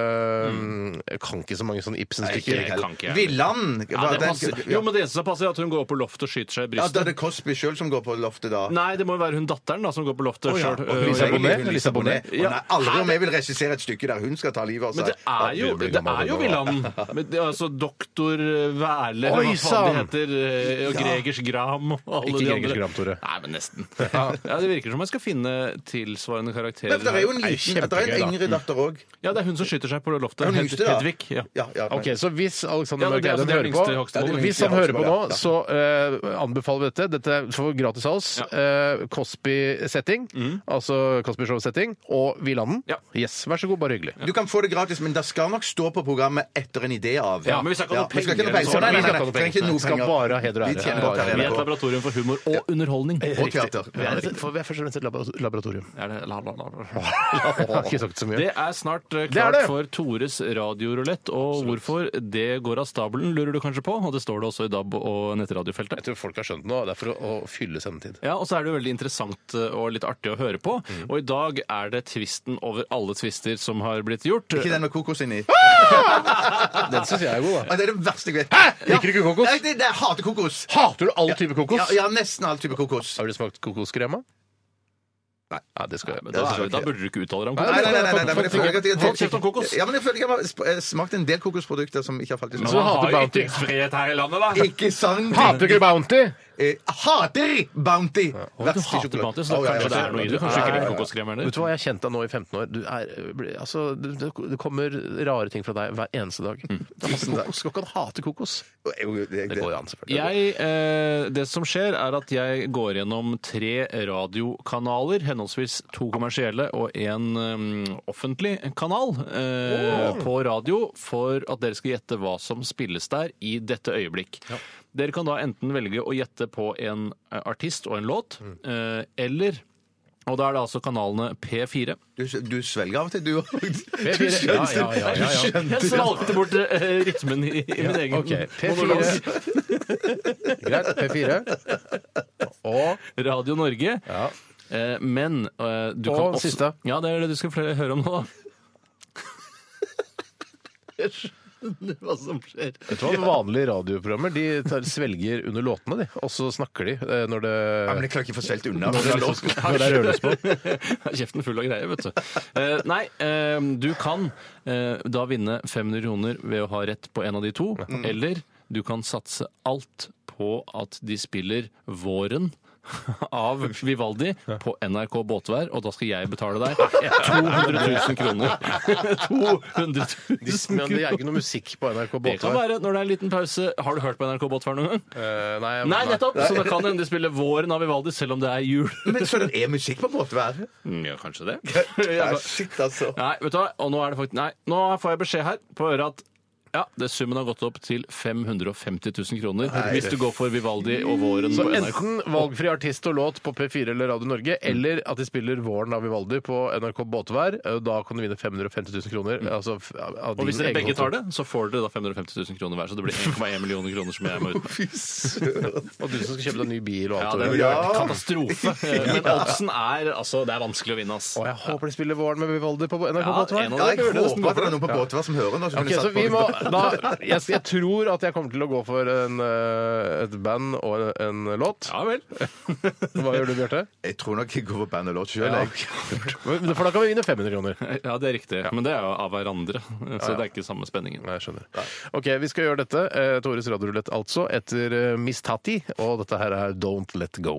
Jeg kan ikke så mange sånne Ibsen-stykker. jeg kan ikke, jeg. Villand Ja, det passer. Jo, men det eneste som passer, er at hun går på loftet og skyter seg i Ja, da er brystet. det Cosby sjøl som går på loftet, da. Nei, det må jo være hun datteren da som går på loftet Ja, selv, og øh, Lisa og- Bonet. Hun Lisa Bonet. Å, Nei, aldri om jeg vil regissere et stykke der hun skal ta livet av Men seg. det er jo, Ja, du blir det er gammel, jo du, da. Villand. Men det er Altså doktor Wæle, Oi, eller hva faen de sann! heter. eh, Og Gregers Gram og alle Ikke de Gregers andre. Gram, Tore. Nei, men [laughs] nesten. Ja, Det virker som jeg skal finne tilsvarende karakterer. Men det er jo en her. liten, det er kjempegøy, da. en yngre datter òg. Ja, det er hun som skyter seg på loftet. Hun Hed- yngste, da. Hedvig. Ja. Ja, ja, Ok, så Hvis Alexander Ja, det Mørk er altså Eidem det hører yngste på, Hoksvold. Ja, det hvis yngste han hører på nå, Hoksvold, ja. så eh, anbefaler vi dette. Dette får vi gratis av oss. Eh, Cosby-setting, altså Cosby Show-setting, og Vilanden. Ja. Yes, vær så god, bare hyggelig. Du kan få det gratis, men det skal nok stå på programmet etter en idé av. Ja, men vi skal ikke ha noe vi skal penger eller ikke ha noe sånn. Nei, nei, Vi skal nei, ikke ha noe nei, trenger ikke penger. noe Vi skal penger. bare ha heder og ære. Vi Ja, tjener ja, bare Vi er et penger. NRK. laboratorium for humor og underholdning. Og teater. Vi er, for vi er først og fremst et labora- laboratorium. Er det la, la, la, la. har ikke sagt så mye. Det er snart eh, Det er klart det. for Tores radiorulett, og hvorfor det går av stabelen, lurer du kanskje på. Og det står det også i DAB og Jeg nettradiofeltet. tror folk har skjønt det nå. Det er for å, å fylle sendetid. Ja, og så er det jo veldig interessant eh, og litt artig å høre på. Mm. Og i dag er det tvisten over alle tvister som har blitt gjort. Ikke den med kokos inni. Den syns jeg er god, da. Men det er det verste jeg vet. Hæ? Liker du ikke kokos? Nei, det, det, jeg hater kokos. Hater du all type kokos? Ja, ja, nesten all type kokos. Har du smakt kokoskrema? Nei. Ja, det skal jeg. Da, er, da burde du ikke uttale deg om Nei, kokos. nei, nei, nei, nei, men jeg føler at jeg- Hold kjeft om kokos. Ja, men jeg føler jeg har sp- eh, smakt en del kokosprodukter som ikke har falt i Så smak. Man hater har jo Bounty. ytringsfrihet her i landet, da. Ikke sant? Hater ikke du Bounty? Eh, hater Bounty! Du hater Bounty, så Å, ja, ja, kanskje det er noe i det. Kanskje ikke liker kokoskrem Vet du heller. hva, jeg har kjent deg nå i 15 år. Du er, blir- altså, det, det- det kommer rare ting fra deg hver eneste dag. Du hater kokos. Skal ikke han hate kokos? Jo, jo, det- Mm. Det går jo an, selvfølgelig. Jeg, eh, det som skjer, er at jeg går gjennom tre radiokanaler, henholdsvis to kommersielle og en eh, offentlig kanal, Oh. eh, på radio, for at dere skal gjette hva som spilles der i dette øyeblikk. Dere kan da enten velge å gjette på en eh, artist og en låt, Mm. eh, eller og da er det altså kanalene P4. Du, du svelger av og til, du òg. P4. Ja, ja, ja, ja, ja. [laughs] Jeg svalgte bort eh, rytmen i, i min egen Ok, monolog. P4. Greit, P4. Og [laughs] Radio Norge. Eh, men eh, du Og kan også siste. Ja, det er det du skal flere høre om nå. da. [laughs] Jeg skjønner hva som skjer. vet du hva, Vanlige radioprogrammer de tar, svelger under låtene, de. og så snakker de eh, når det, Men jeg klarer ikke å få svelget unna. når det, er lås- [laughs] når det er rødløs på. [laughs] Kjeften full av greier, vet du. Eh, nei, eh, du kan eh, da vinne 500 kroner ved å ha rett på en av de to, eller du kan satse alt på at de spiller Våren [laughs] av Vivaldi på NRK Båtvær, og da skal jeg betale [laughs] deg 200 000 kroner. [laughs] Men 200 000 det er kroner. ikke noe musikk på NRK Det kan Båtvær. være når det er en liten pause. Har du hørt på NRK Båtvær noen gang? Eh, nei, Nei, nettopp! Så det kan hende de spiller Våren av Vivaldi selv om det er jul. Men så det er musikk på båtvær? [laughs] Ja, kanskje det. Ja, shit, altså. Nei, vet du hva? Og nå er det faktisk Nei, nå får jeg beskjed her på øret at ja, det summen har gått opp til 550 000 kroner hvis du går for Vivaldi og Våren Så på NRK. enten valgfri artist og låt på P4 eller Radio Norge, Mm. eller at de spiller Våren av Vivaldi på NRK Båtvær. eh, Da kan du vinne 550 000 kroner. Altså, f- av- av Mm. Og hvis din dere egen begge tar konto. det, så får dere da 550 000 kroner hver. Så det blir 1,1 millioner kroner som jeg må ut med. Og du som skal kjøpe deg ny bil og Ja, alt. det det blir der. vært katastrofe. [laughs] Men oddsen er altså Det er vanskelig å vinne, ass. Og jeg håper de spiller Våren med Vivaldi på NRK Ja, Båtvær. en av Ja, dere jeg burde nesten gå håper at det for er noen på båtvær som hører den. da, så Ok, kunne så satt vi på- må, da, jeg, jeg tror at jeg kommer til å gå for en, eh, et band og en, en låt. Ja vel. Hva gjør du, Bjarte? Jeg tror nok jeg går for band og låt sjøl. Ja. Men- For da kan vi vinne 500 kroner. Ja, det er riktig. Men det er jo av hverandre, så det er ikke samme spenningen. Nei, jeg skjønner. Ok, vi skal gjøre dette. eh, Tores radiorulett altså, etter eh, Miss Tati. Og dette her er Don't Let Go.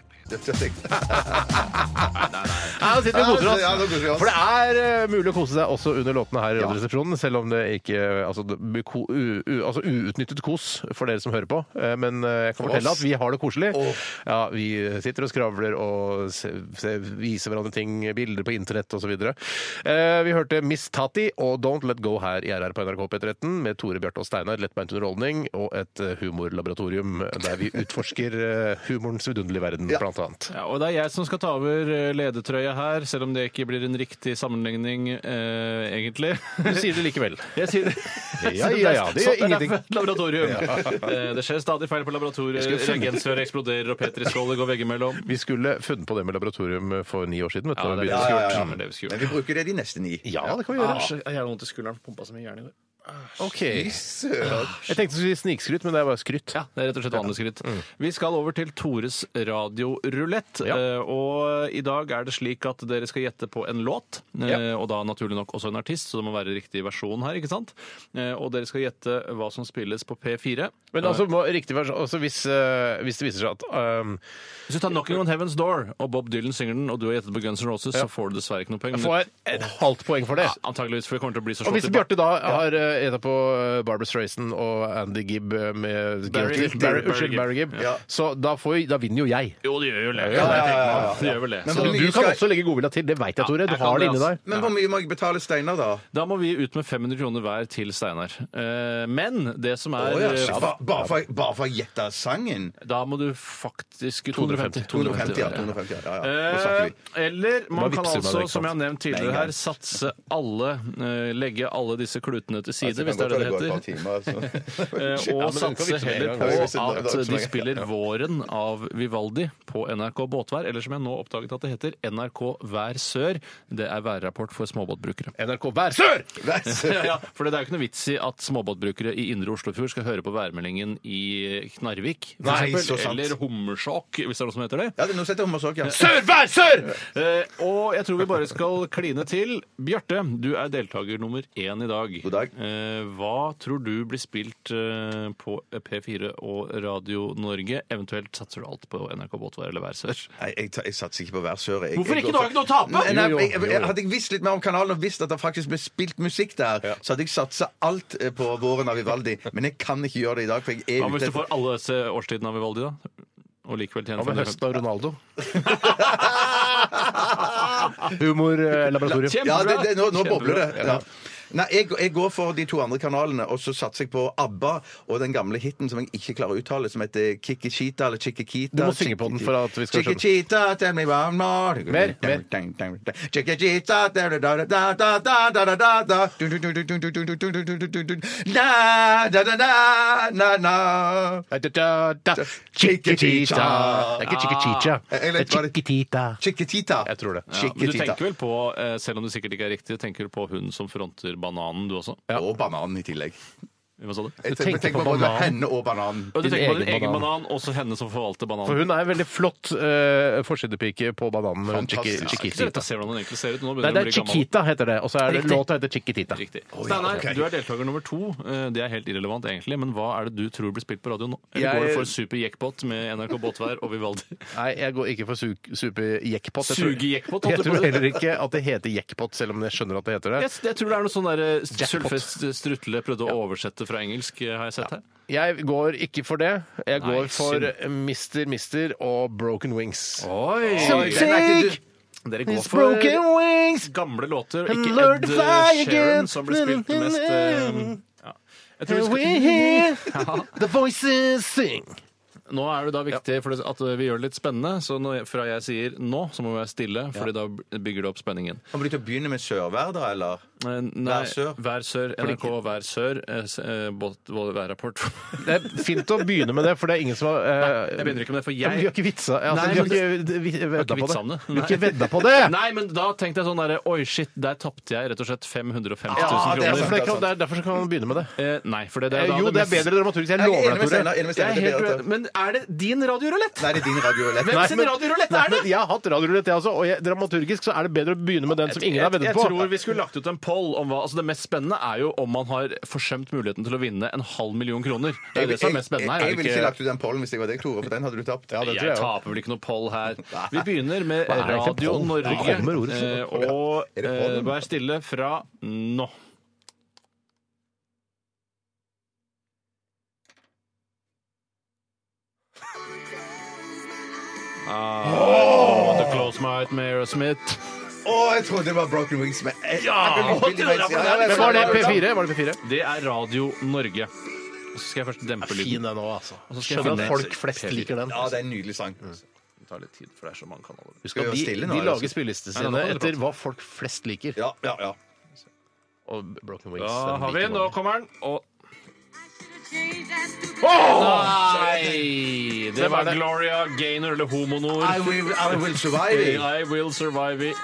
Ja, nå sitter vi og koser oss. Ja, nå koser vi oss. For det er eh, mulig å kose seg også under låtene her i Radioresepsjonen, selv om det ikke altså, det blir ko- u, u, altså uutnyttet kos for dere som hører på. Eh, Men eh, jeg kan fortelle at vi har det koselig. Ja, vi sitter og skravler og se, se, viser hverandre ting, bilder på internett osv. Eh, Vi hørte Miss Tati og Don't Let Go her i RR på NRK P13 med Tore Bjarte og Steinar, lettbeint underholdning og et eh, humorlaboratorium der vi utforsker eh, humorens vidunderlige verden, blant annet. Ja, og det er jeg som skal ta over eh, ledertrøya her, selv om det ikke blir en riktig sammenligning, eh, [laughs] egentlig. Du sier det likevel. Jeg sier det. Ja, ja, ja, det gjør Sånn ingenting. derfor et Laboratorium. Eh, Det skjer stadig feil på laboratoriet. Reagensrør eksploderer, og petriskåler går veggimellom. Vi skulle funnet på det med laboratorium for ni år siden. vet du. Ja, når vi det begynte. er ja, ja, ja. det vi skulle Men gjort. vi bruker det de neste ni. ja, det kan vi gjøre. Jeg har vondt i skulderen. Pumpa så mye jern i går. Ok. Jeg tenkte vi skulle snikskryt, men det er bare skrytt. Ja, det er rett og slett vanlig skritt. Vi skal over til Tores radiorulett. Mm. Ja. eh, Og i dag er det slik at dere skal gjette på en låt, eh, Ja. og da naturlig nok også en artist, så det må være riktig versjon her, ikke sant? Eh, Og dere skal gjette hva som spilles på P4. Men altså, må, riktig vers, altså hvis, eh, hvis det viser seg at ehm, Hvis du tar 'Knocking on Heaven's Door', og Bob Dylan synger den, og du har gjettet på Guns N' Roses, så får du dessverre ikke noe poeng. Får jeg et halvt poeng for det? Ja, antageligvis, for det kommer til å bli så Og slått hvis i Bjarte da har eh, eh, gjetta på eh, Barbra Streisand og Andy Gibb eh, med Barry Guilty. Gibb. Barry, Barry unnskyld, Gibb. Barry Gibb. Ja. Så da, får, jo- da vinner jo jeg. Jo, det gjør jo det. Ja, ja, Det gjør vel det. Men Så Så hvor du mye kan skal- også legge godvilja til. Det veit jeg, Tore. Du jeg kan har det det, inni altså. deg. Men hvor mye må jeg betale Steinar, da? Da må vi ut med 500 kroner hver til Steinar. Eh, Men det som er Å ja, eh, shit, ba- Bare for- bare for å gjette sangen? Da må du faktisk 250. 250, ja. 250, ja, ja, ja. Nå snakker Eh, vi. eller Bare vipser meg man kan det, altså, ikke sant? som jeg har nevnt tidligere Nei, her, satse alle eh, Legge alle disse klutene til side, Altså, hvis det er kan det det godt være heter. det går et par timer, Eh, [laughs] altså. men du Og kan satse vipse med heller en på gang, hvis det er dag at som de er- spiller Våren av Vivaldi på NRK Båtvær, eller som jeg nå oppdaget at det heter NRK Vær Sør. Det er værrapport for [laughs] småbåtbrukere. NRK Vær Sør! Ja, ja, for det er jo ikke noe vits i at småbåtbrukere i indre Oslofjord skal høre på værmeldingen i Knarvik, for Nei, så eksempel, sant. eller Hummersåk, hvis det er noe som heter det. Ja, det er noe som heter Hummersåk, ja. Sør, Vær Sør! Eh, og jeg tror vi bare skal kline til. Bjarte, du er deltaker nummer én i dag. God dag. Eh, hva tror du blir spilt eh, på P4 og Radio Norge? Eventuelt satser du alt på NRK Båtvær eller Vær Sør? Nei, jeg, tar- jeg satser ikke på hver sør. Jeg, Hvorfor jeg ikke? går Du har for- ikke noe å tape! Nei, nei, Jo, jo, jeg, jeg, jo, jo. hadde jeg visst litt mer om kanalen og visst at det faktisk ble spilt musikk der, så hadde jeg satsa alt eh, på våren av Vivaldi. Men jeg kan ikke gjøre det i dag, for jeg er Hva hvis ute du får alle disse årstidene av Vivaldi, da? Og likevel tjener Hva med 550? høsten av [laughs] Ronaldo? Humorlaboratorium. Kjempebra! Ja, det, det, nå, nå Kjempebra. bobler det. Ja. Nei, jeg, jeg går for de to andre kanalene, og så satser jeg på ABBA og den gamle hiten som jeg ikke klarer å uttale, som heter Kikkichita eller Chikkikita. Du må synge på den for at vi skal skjønne. Chikkikita, tell me one more. Mer, mer. Chikkikita, da, da, da, da, da, da, da, da, da. Du, du, du, du, du, du, du, du, du, du, du, du. Na, da, da, da, na, na. Chiquitita. Det er ikke Chiquitita. Jeg vet hva det- Chiquitita. Chikkikita. Jeg tror det. Ja, men du Chiquitita. tenker vel på, eh, selv om det sikkert ikke er riktig, tenker du på hun som fronter bananen, du også? Og bananen i tillegg. Hva sa du? Jeg tenker tenker, tenker på på både bananen. henne og bananen. Og du Din tenker på din egen egen banan. banan, også henne som forvalter bananen. For hun er en veldig flott eh, forsidepike på bananen. hun Chiqui- Fantastisk. Ja, ikke så lett Chiquitita. å se hvordan den egentlig ser ut. Nå Nei, det begynner den å er bli gammel. Chiquita heter det. Og så er det Riktig. låta heter Chiquitita. Riktig. Å, ja, Steinar, ok. du er deltaker nummer to. Eh, Det er helt irrelevant, egentlig, men hva er det du tror blir spilt på radio nå? Eller Jeg- går du for Super Jackpot med NRK Båtvær og [laughs] Vivaldi? Nei, jeg går ikke for su- super-jackpot. Jeg tror- Suge-jackpot, [laughs] Jeg holdt jeg tror på å si. heller ikke at det heter jackpot, selv om jeg skjønner at det heter det. Jeg, jeg tror det er noe sånn der eh, Sølvfest Strutle prøvde å oversette fra engelsk, eh, har jeg sett her. Jeg går ikke for det. Jeg Nei, går for synd. Mister Mister og Broken Wings. Oi! Den er ikke du- Dere går It's for broken wings! gamle låter, og ikke Lord Ed eh, fly again. Sheeran, som ble spilt mest eh, ja. Jeg tror vi skal- We [laughs] hear the voices sing. Nå er det da viktig for det- at vi gjør det litt spennende, så når jeg, fra jeg sier nå, så må vi være stille, fordi da bygger det opp spenningen. Kommer du til å begynne med Sørvær, da, eller? Eh, Nei, Vær Sør. Vær Sør, NRK Vær Sør, eh, s- eh, båt- vår [laughs] værrapport. Det er fint å begynne med det, for det er ingen som har eh, Jeg begynner ikke med det, for Ja, men Vi har jeg ikke vitsa altså, Nei, Vi har men- ikke vi- vedda på vitsa om det. det. Vi har ikke Nei. vedda på det! Nei, men da tenkte jeg sånn derre Oi, shit, der tapte jeg rett og slett 550 000 Ja, det er kroner. Derfor, det kan, det er derfor så kan man begynne med det. Eh, nei, for det, det er da Eh, Jo, det er mest- bedre dramaturgisk. Jeg Jeg er lover enig deg, med Tore. Steinar, enig med Jeg er Steinar, det helt er bedre. uenig. Men er det din radiorulett? Nei, det er din radiorulett. Hvem Nei, sin men- radiorulett Nei, er det? men Jeg har hatt radiorulett, jeg også. Og jeg, dramaturgisk så er det bedre å begynne med den som ingen har jeg, veddet jeg på. tror vi skulle lagt ut en poll om hva altså Det mest spennende er jo om man har forsømt muligheten til å vinne en halv million kroner. Det er det som er mest spennende her. er Jeg, jeg det ville ikke lagt ut den pollen hvis jeg var deg, Tore, for den hadde du tapt. Ja, det tror Jeg jeg jo. taper vel ikke noe poll her. Vi begynner med Hva er det egentlig Radio poll? Norge. Det kommer ordet for eh, poll, ja. Er Og det pollen? eh, vær stille fra nå. Ah, to close my eyes med Aerosmith. Å, jeg trodde det var Broken Wings med e- Ja! Men var det P4? Var det P4? Det er Radio Norge. Og så skal jeg først dempe lyden. den òg, altså. Og så skal jeg Skjønner finne- at folk flest P4. liker den. Ja, Mm. det er en nydelig sang. Det tar litt tid, for det er så mange kanaler. Skal vi de, være stille nå? de eller? lager spillelistene sine Nei, nå kan dere etter prate. hva folk flest liker. Ja, ja, ja. Og Broken Wings. Da den har vi, liker nå mange. kommer den. Og Nei! Det Hvem er var det? Gloria Gaynor, eller Homonor. I will, I will survive. it. I will survive it. Å,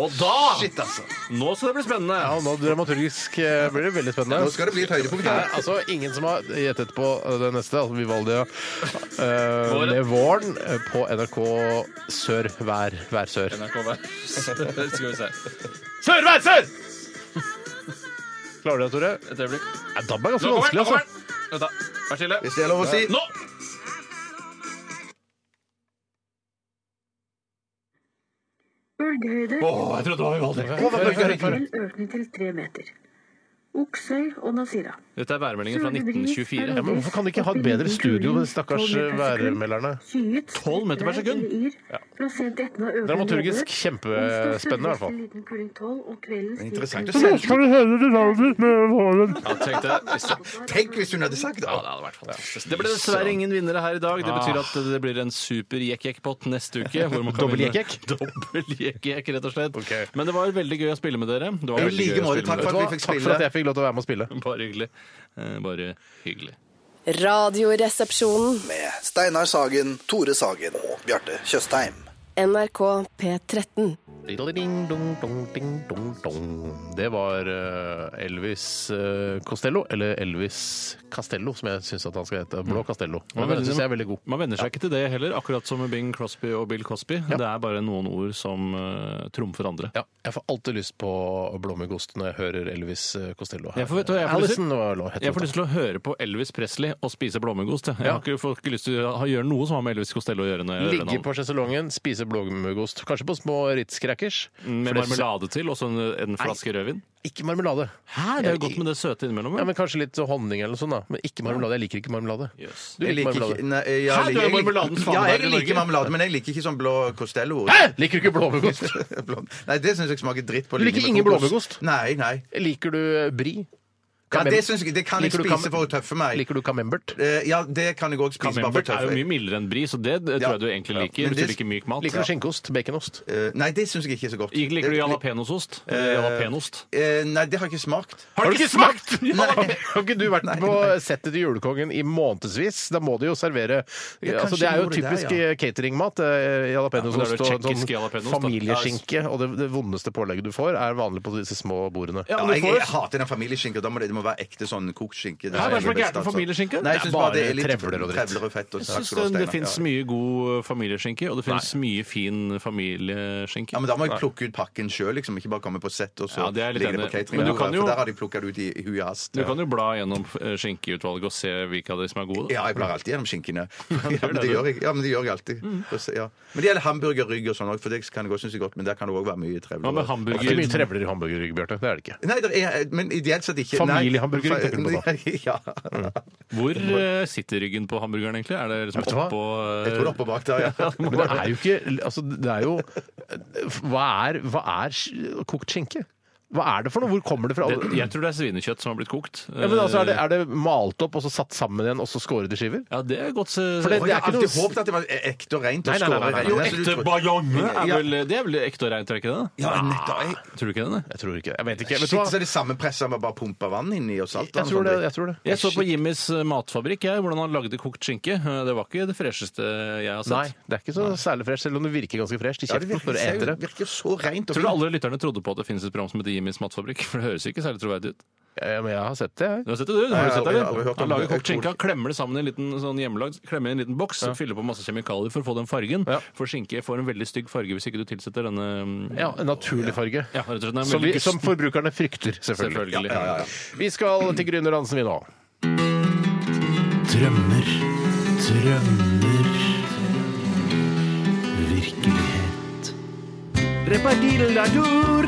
Og da! Shit, altså. Nå skal det bli spennende. Ja, og nå dramaturgisk eh, blir det veldig spennende. Nå skal det bli et høydepunkt. Det her. er altså ingen som har gjettet på det neste, altså Vivaldi ja. Eh, Våren. med våren eh, på NRK Sør Vær, Vær Sør. NRK Vær. Skal vi se. Sør Vær Sør! Klarer du det, Tore? Et øyeblikk. Ja, DAB er ganske Nå kommer den! vanskelig, nå kommer altså. den. Vent da. Vær stille. Hvis det er lov å si. Nå! Bølgehøyde Å, jeg trodde det var Vivaldi. økende til tre meter. Oksøy og Nasira. Dette er værmeldingen fra 1924. Ja, men hvorfor kan de ikke ha et bedre studio, de stakkars eh, værmelderne? 12 meter per sekund? Dramaturgisk kjempespennende, i hvert fall. Interessant å Så se. Skal du høre det navnet med våren? Ja, tenk det. Hvis det- Tenk hvis hun hadde sagt det! Ja, det hadde vært fantastisk. Det ble dessverre ingen vinnere her i dag. Det betyr at det blir en super jekk-jekk-pott neste uke. hvor man kan Ah. Dobbel vinne- jekk-jekk? [laughs] Dobbel jekk-jekk, rett og slett. Ok. Men det var veldig gøy å spille med dere. Det var I veldig gøy like å måte, spille takk med Takk dere. for at vi fikk for at spille. jeg fikk lov til å være med og spille. Bare hyggelig. Eh, Bare hyggelig. Radioresepsjonen. Med Steinar Sagen, Tore Sagen og Bjarte Tjøstheim. NRK P13. Det var eh, Elvis eh, Costello, eller Elvis Castello, som jeg syns han skal hete. Mm. Blå Castello. Men den syns jeg er veldig god. Man venner seg ikke til det heller, akkurat som med Bing Crosby og Bill Cosby. Det er bare noen ord som eh, trumfer andre. Ja, jeg får alltid lyst på blåmuggost når jeg hører Elvis eh, Costello. her. Jeg får- vet du hva jeg får lyst Allison var lå- het Jeg får hun. lyst til å høre på Elvis Presley og spise blåmuggost. Jeg Ja. har ikke, får ikke lyst til å ha- gjøre noe som har med Elvis Costello å gjøre. Når jeg hører Ligge navnet. på sjeselongen, spise blåmuggost. Kanskje på små Ritz-crackers. Mm, Med For det syns jeg- marmelade til, og så en, en flaske rødvin. Ikke marmelade. Hæ, det er jo godt med det søte innimellom. Ja, men Kanskje litt honning eller noe sånt, da. Men ikke marmelade. Jeg liker ikke marmelade. Jøss. Du Jeg liker liker marmelade. ikke nei, jeg- Hæ, jeg du er liker- marmeladens Ja, faneberg i jeg Norge. liker marmelade, men jeg liker ikke sånn blå Costello. [laughs] Hæ! Eh! Liker du ikke blåmuggost? Nei, det syns jeg smaker dritt. på Du linje liker med ingen kokos. blåmuggost? Nei, nei. Liker du eh, bri? Ja, Camem- det, synes jeg, det kan jeg Liker du spise kam- for å tøffe meg. Liker du camembert? Eh, Ja, det kan jeg òg spise bare for å Camembert er tøffe jo mye mildere enn brie, så det, det Ja. tror jeg du egentlig Ja. liker. Men Hvis det- du liker myk mat. Liker du skinkeost? Baconost? Eh, Nei, det syns jeg ikke er så godt. Ikke Liker du Eh, jalapeñosost? Jalapenost? eh, Nei, det har jeg ikke smakt. Har du ikke smakt?! [laughs] Nei. Har ikke du vært på settet til Julekongen i månedsvis? Da må de jo servere Ja, altså, kanskje Det er jo de gjorde det der, typisk ja. cateringmat. eh, Ja, men Jalapeñosost det er jo og sånn tsjekkisk jalapeñost, da. familieskinke. Og det, det vondeste pålegget du får, er vanlig på disse små bordene. Ja, Ja, men jeg, du får jeg hater den familieskinka. Da må det, det må være ekte sånn kokt skinke. Hæ, hva er det som er best, gærent med altså. familieskinke? Nei, jeg Det er synes bare bare det er litt trevler og dritt. trevler og fett. Og Jeg takk skal du ha, synes det Steinar. finnes Ja. mye god familieskinke, og det finnes mye fin familieskinke. Ja, men Da må jeg plukke ut pakken sjøl, liksom. Ikke bare komme på sett og så Ja, det er litt ligger det enig. på catering. Men du kan jo- For der har de plukka det ut i, i hui og hast. Du kan jo bla gjennom eh, skinkeutvalget og se hvilke av de som er gode. da. Ja, jeg blar alltid gjennom skinkene. [laughs] Ja, men det, du. det Mm. gjør jeg, ja, men det gjør jeg alltid. Og så- Ja. Men det gjelder hamburger, rygg og sånn òg, for det kan jeg også synes er godt, men der kan det òg være mye trevler. Det Hva med er ikke hamburger? mye trevler i hamburgerrygg, Bjarte. Det er det ikke. Nei, det er, men ideelt sett ikke. Familiehamburger Nei, tenker du [laughs] Ja. Hvor eh, sitter ryggen på hamburgeren, egentlig? Er det liksom Vet du hva? oppå Jeg tror det er oppe [laughs] bak der, ja. Men det er jo ikke altså, det er jo, eh, hva, er, hva er sk- kokt skinke? Hva er det for noe? Hvor kommer det fra? det, Jeg tror det er svinekjøtt som har blitt kokt. ja, men altså, er, det, er det malt opp og så satt sammen igjen og så skåret i skiver? Eh, Ja, det er godt For det- Og er jeg har ikke alltid noe- håpet at det var ekte og rent. og Nei, nei, nei, nei, nei. skåret. Jo, Ja, så du tror- bajonge er Ja. vel Det er vel ekte og reint, er det ikke det? Ja, nettopp. Jeg- Tror du ikke det? Jeg tror ikke Jeg vet ikke. Vet du Shit, så hva? er det samme presset, man bare pumper vann inni og salt. Jeg tror det. Jeg tror det. Jeg så på Jimmys eh, matfabrikk jeg, hvordan han lagde kokt skinke. Eh, Det var ikke det fresheste jeg har Nei, sett. det er ikke så særlig fresh, selv om det virker ganske fresh i Ja, det kjeften virker, når du eter det det. virker så rent og Tror du fint. alle lytterne trodde på at det finnes et program som heter Jimmys matfabrikk? [laughs] For det høres ikke særlig troverdig ut. Ja, men jeg har sett det, jeg. Du har sett det, du? Har Nei, du sett det, jeg har aldri eller? hørt Han om lager det. kokt skinke, han klemmer det sammen i en liten sånn hjemmelagd, klemmer i en liten boks, fyller på masse kjemikalier for å få den fargen. Ja. For skinke får en veldig stygg farge hvis ikke du tilsetter denne mm, Ja, en naturlig farge. ja, rett og slett. Den er Som, vi, veldig som gusten, forbrukerne frykter, selvfølgelig. selvfølgelig. Vi skal til Gryner Hansen, vi nå. Drømmer, drømmer Virkelighet Repadilladoo,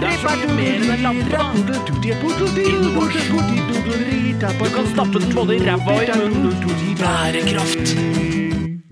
repadoo Du kan stappe den både i ræva og i munnen Bærekraft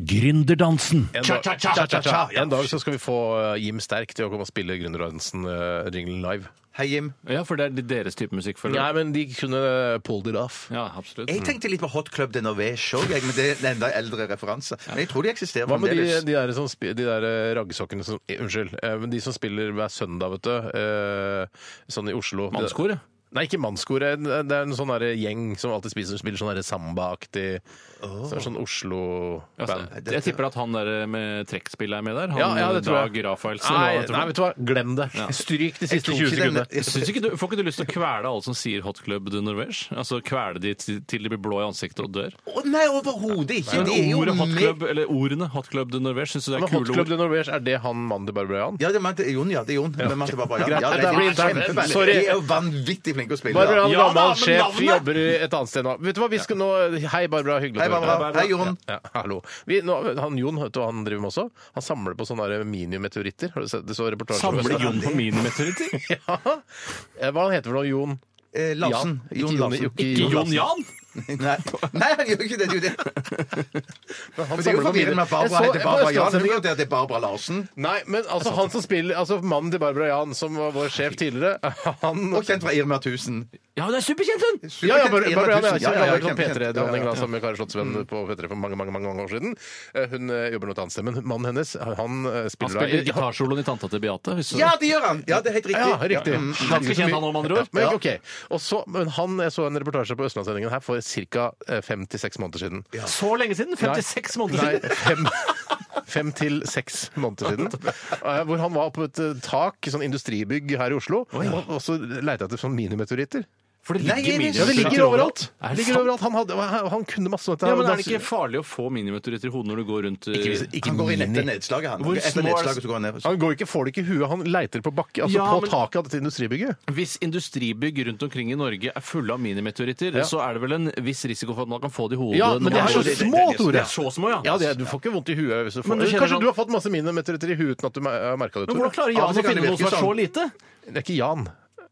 Gründerdansen En dag, Cha-cha-cha. En dag så skal vi få eh, Jim Sterk til å komme og spille Gründer Hansen-jinglen live. Hei, Jim. Ja, for det er deres type musikk, føler Nei, jeg. men de kunne pulled it off. Ja, absolutt. Mm. Jeg tenkte litt på Hot Club de Norvège òg, men det er en enda eldre referanse. Men jeg tror de eksisterer Hva med de, fremdeles. de der, som, spi- de der eh, raggsokkene som eh, Unnskyld. eh, Men de som spiller hver søndag, vet du. eh, Sånn i Oslo. Mannskor, ja. Nei, ikke mannskor. eh, Det er en sånn der gjeng som alltid spiser, spiller sånn der samba-aktig så er det Sånn Oslo-band. Altså, jeg tipper at han der med trekkspill er med der. Han eh, Ja, ja, det tror Dag jeg. Rafaelsen. Nei, eller hva det heter for nei, noe. vet du hva. Glem det. Stryk de siste tror 20 ikke den- sekundene. Syns ikke du, får ikke du lyst til å kvele alle som sier hot club de Norvège? Altså kvele de til til de blir blå i ansiktet og dør? Å, nei, overhodet ikke! Men De er jo ordet hot med- club, eller ordene hot club de Norvège, syns du det Men er Hot kule Club ord? de Norvège, er det han mannen til Barbara Jan? Ja, det er Mante- Jon, ja. Det er Jon. Men Mante Barbara, ja. Ja, Greit, det da blir det er takk. kjempefeil. Sorry. De er jo vanvittig flinke å spille. Barbara da. Jan, Ja da, gammel men sjef, navnet! jobber i et annet sted nå. Vet du hva, vi skal nå Hei, Barbara. Hyggelig å høre deg. Hei, Barbara. Hei, Jon. Ja, hallo. Vi, nå, han Jon vet du, hva han driver med også. Han samler på sånne der [laughs] minimeteoritter. Har du sett det så reportasje om Samle det? [laughs] Jon på minimeteoritter? Ja. Eh, Hva han heter for noe, Jon? Eh, eh, Larsen. Jan. Ikke Jon- Larsen. ikke Jon Jon Jan? Nei. [laughs] Nei, han gjør ikke det. Det er jo det. Han Men det er jo samler familier. forvirrende at Jeg Barbara så- heter Barbara jeg Jan. så- Det er jo ikke at det er Barbara Larsen. Nei, men altså han som spiller Altså mannen til Barbara Jan, som var vår sjef tidligere, han Og kjent fra Irma 1000. Ja, hun er superkjent, hun! Ja, ja, Barbara, Irma Barbara Jan er 1000. kjent. Ja, Hun ja, var sånn kjempekjent. P3-dronning Ja, da, ja. sammen med Kari Slottsvenn på P3 for mange mange, mange, mange år siden. Eh, Hun eh, jobber noe annet sted, men mannen hennes, eh, han eh, Han spiller da spiller gitarsoloen i Tanta til Beate. hvis du- Ja, det gjør han! Ja, det er helt riktig. Ja, Mm. riktig. Ganske kjent han om andre ord. Ja, men, ok. Og så, men han, jeg så en reportasje på Østlandssendingen her for ca. fem til seks måneder siden. Så lenge siden! 56 måneder Nei, siden! fem, fem til seks måneder siden. Eh, Hvor han var på et eh, tak i sånn industribygg her i Oslo, og, og så leita etter sånn minimeteoritter. For det Nei, ligger jeg- Ja, minimeteoritter det ligger overalt! Er det Det ligger sant? overalt. Han, hadde, han- han kunne masse om dette. Ja, her, men og Er det da- ikke farlig å få minimeteoritter i hodet når du går rundt eh, Ikke hvis- ikke Han går inn mini. etter nedslaget, han. Hvor små Etter er- nedslaget så går han ned. Han går ikke, får det ikke i huet. Han leiter på bakke, altså Ja, på men- taket av dette industribygget. Hvis industribygg rundt omkring i Norge er fulle av minimeteoritter, Ja. så er det vel en viss risiko for at man kan få det i hodet? Ja, men når det man- er så det- det- små, det- det- Tore. Det er så små, ja. Ja, det er, Du får ikke vondt i huet. Hvis du får. Men du kjenner Kanskje sånn- du har fått masse minimeteoritter i huet uten at du har merka det. Men Tore. hvordan klarer Av og Jan til å kan finne det noe som virke er så lite? Det er ikke Jan.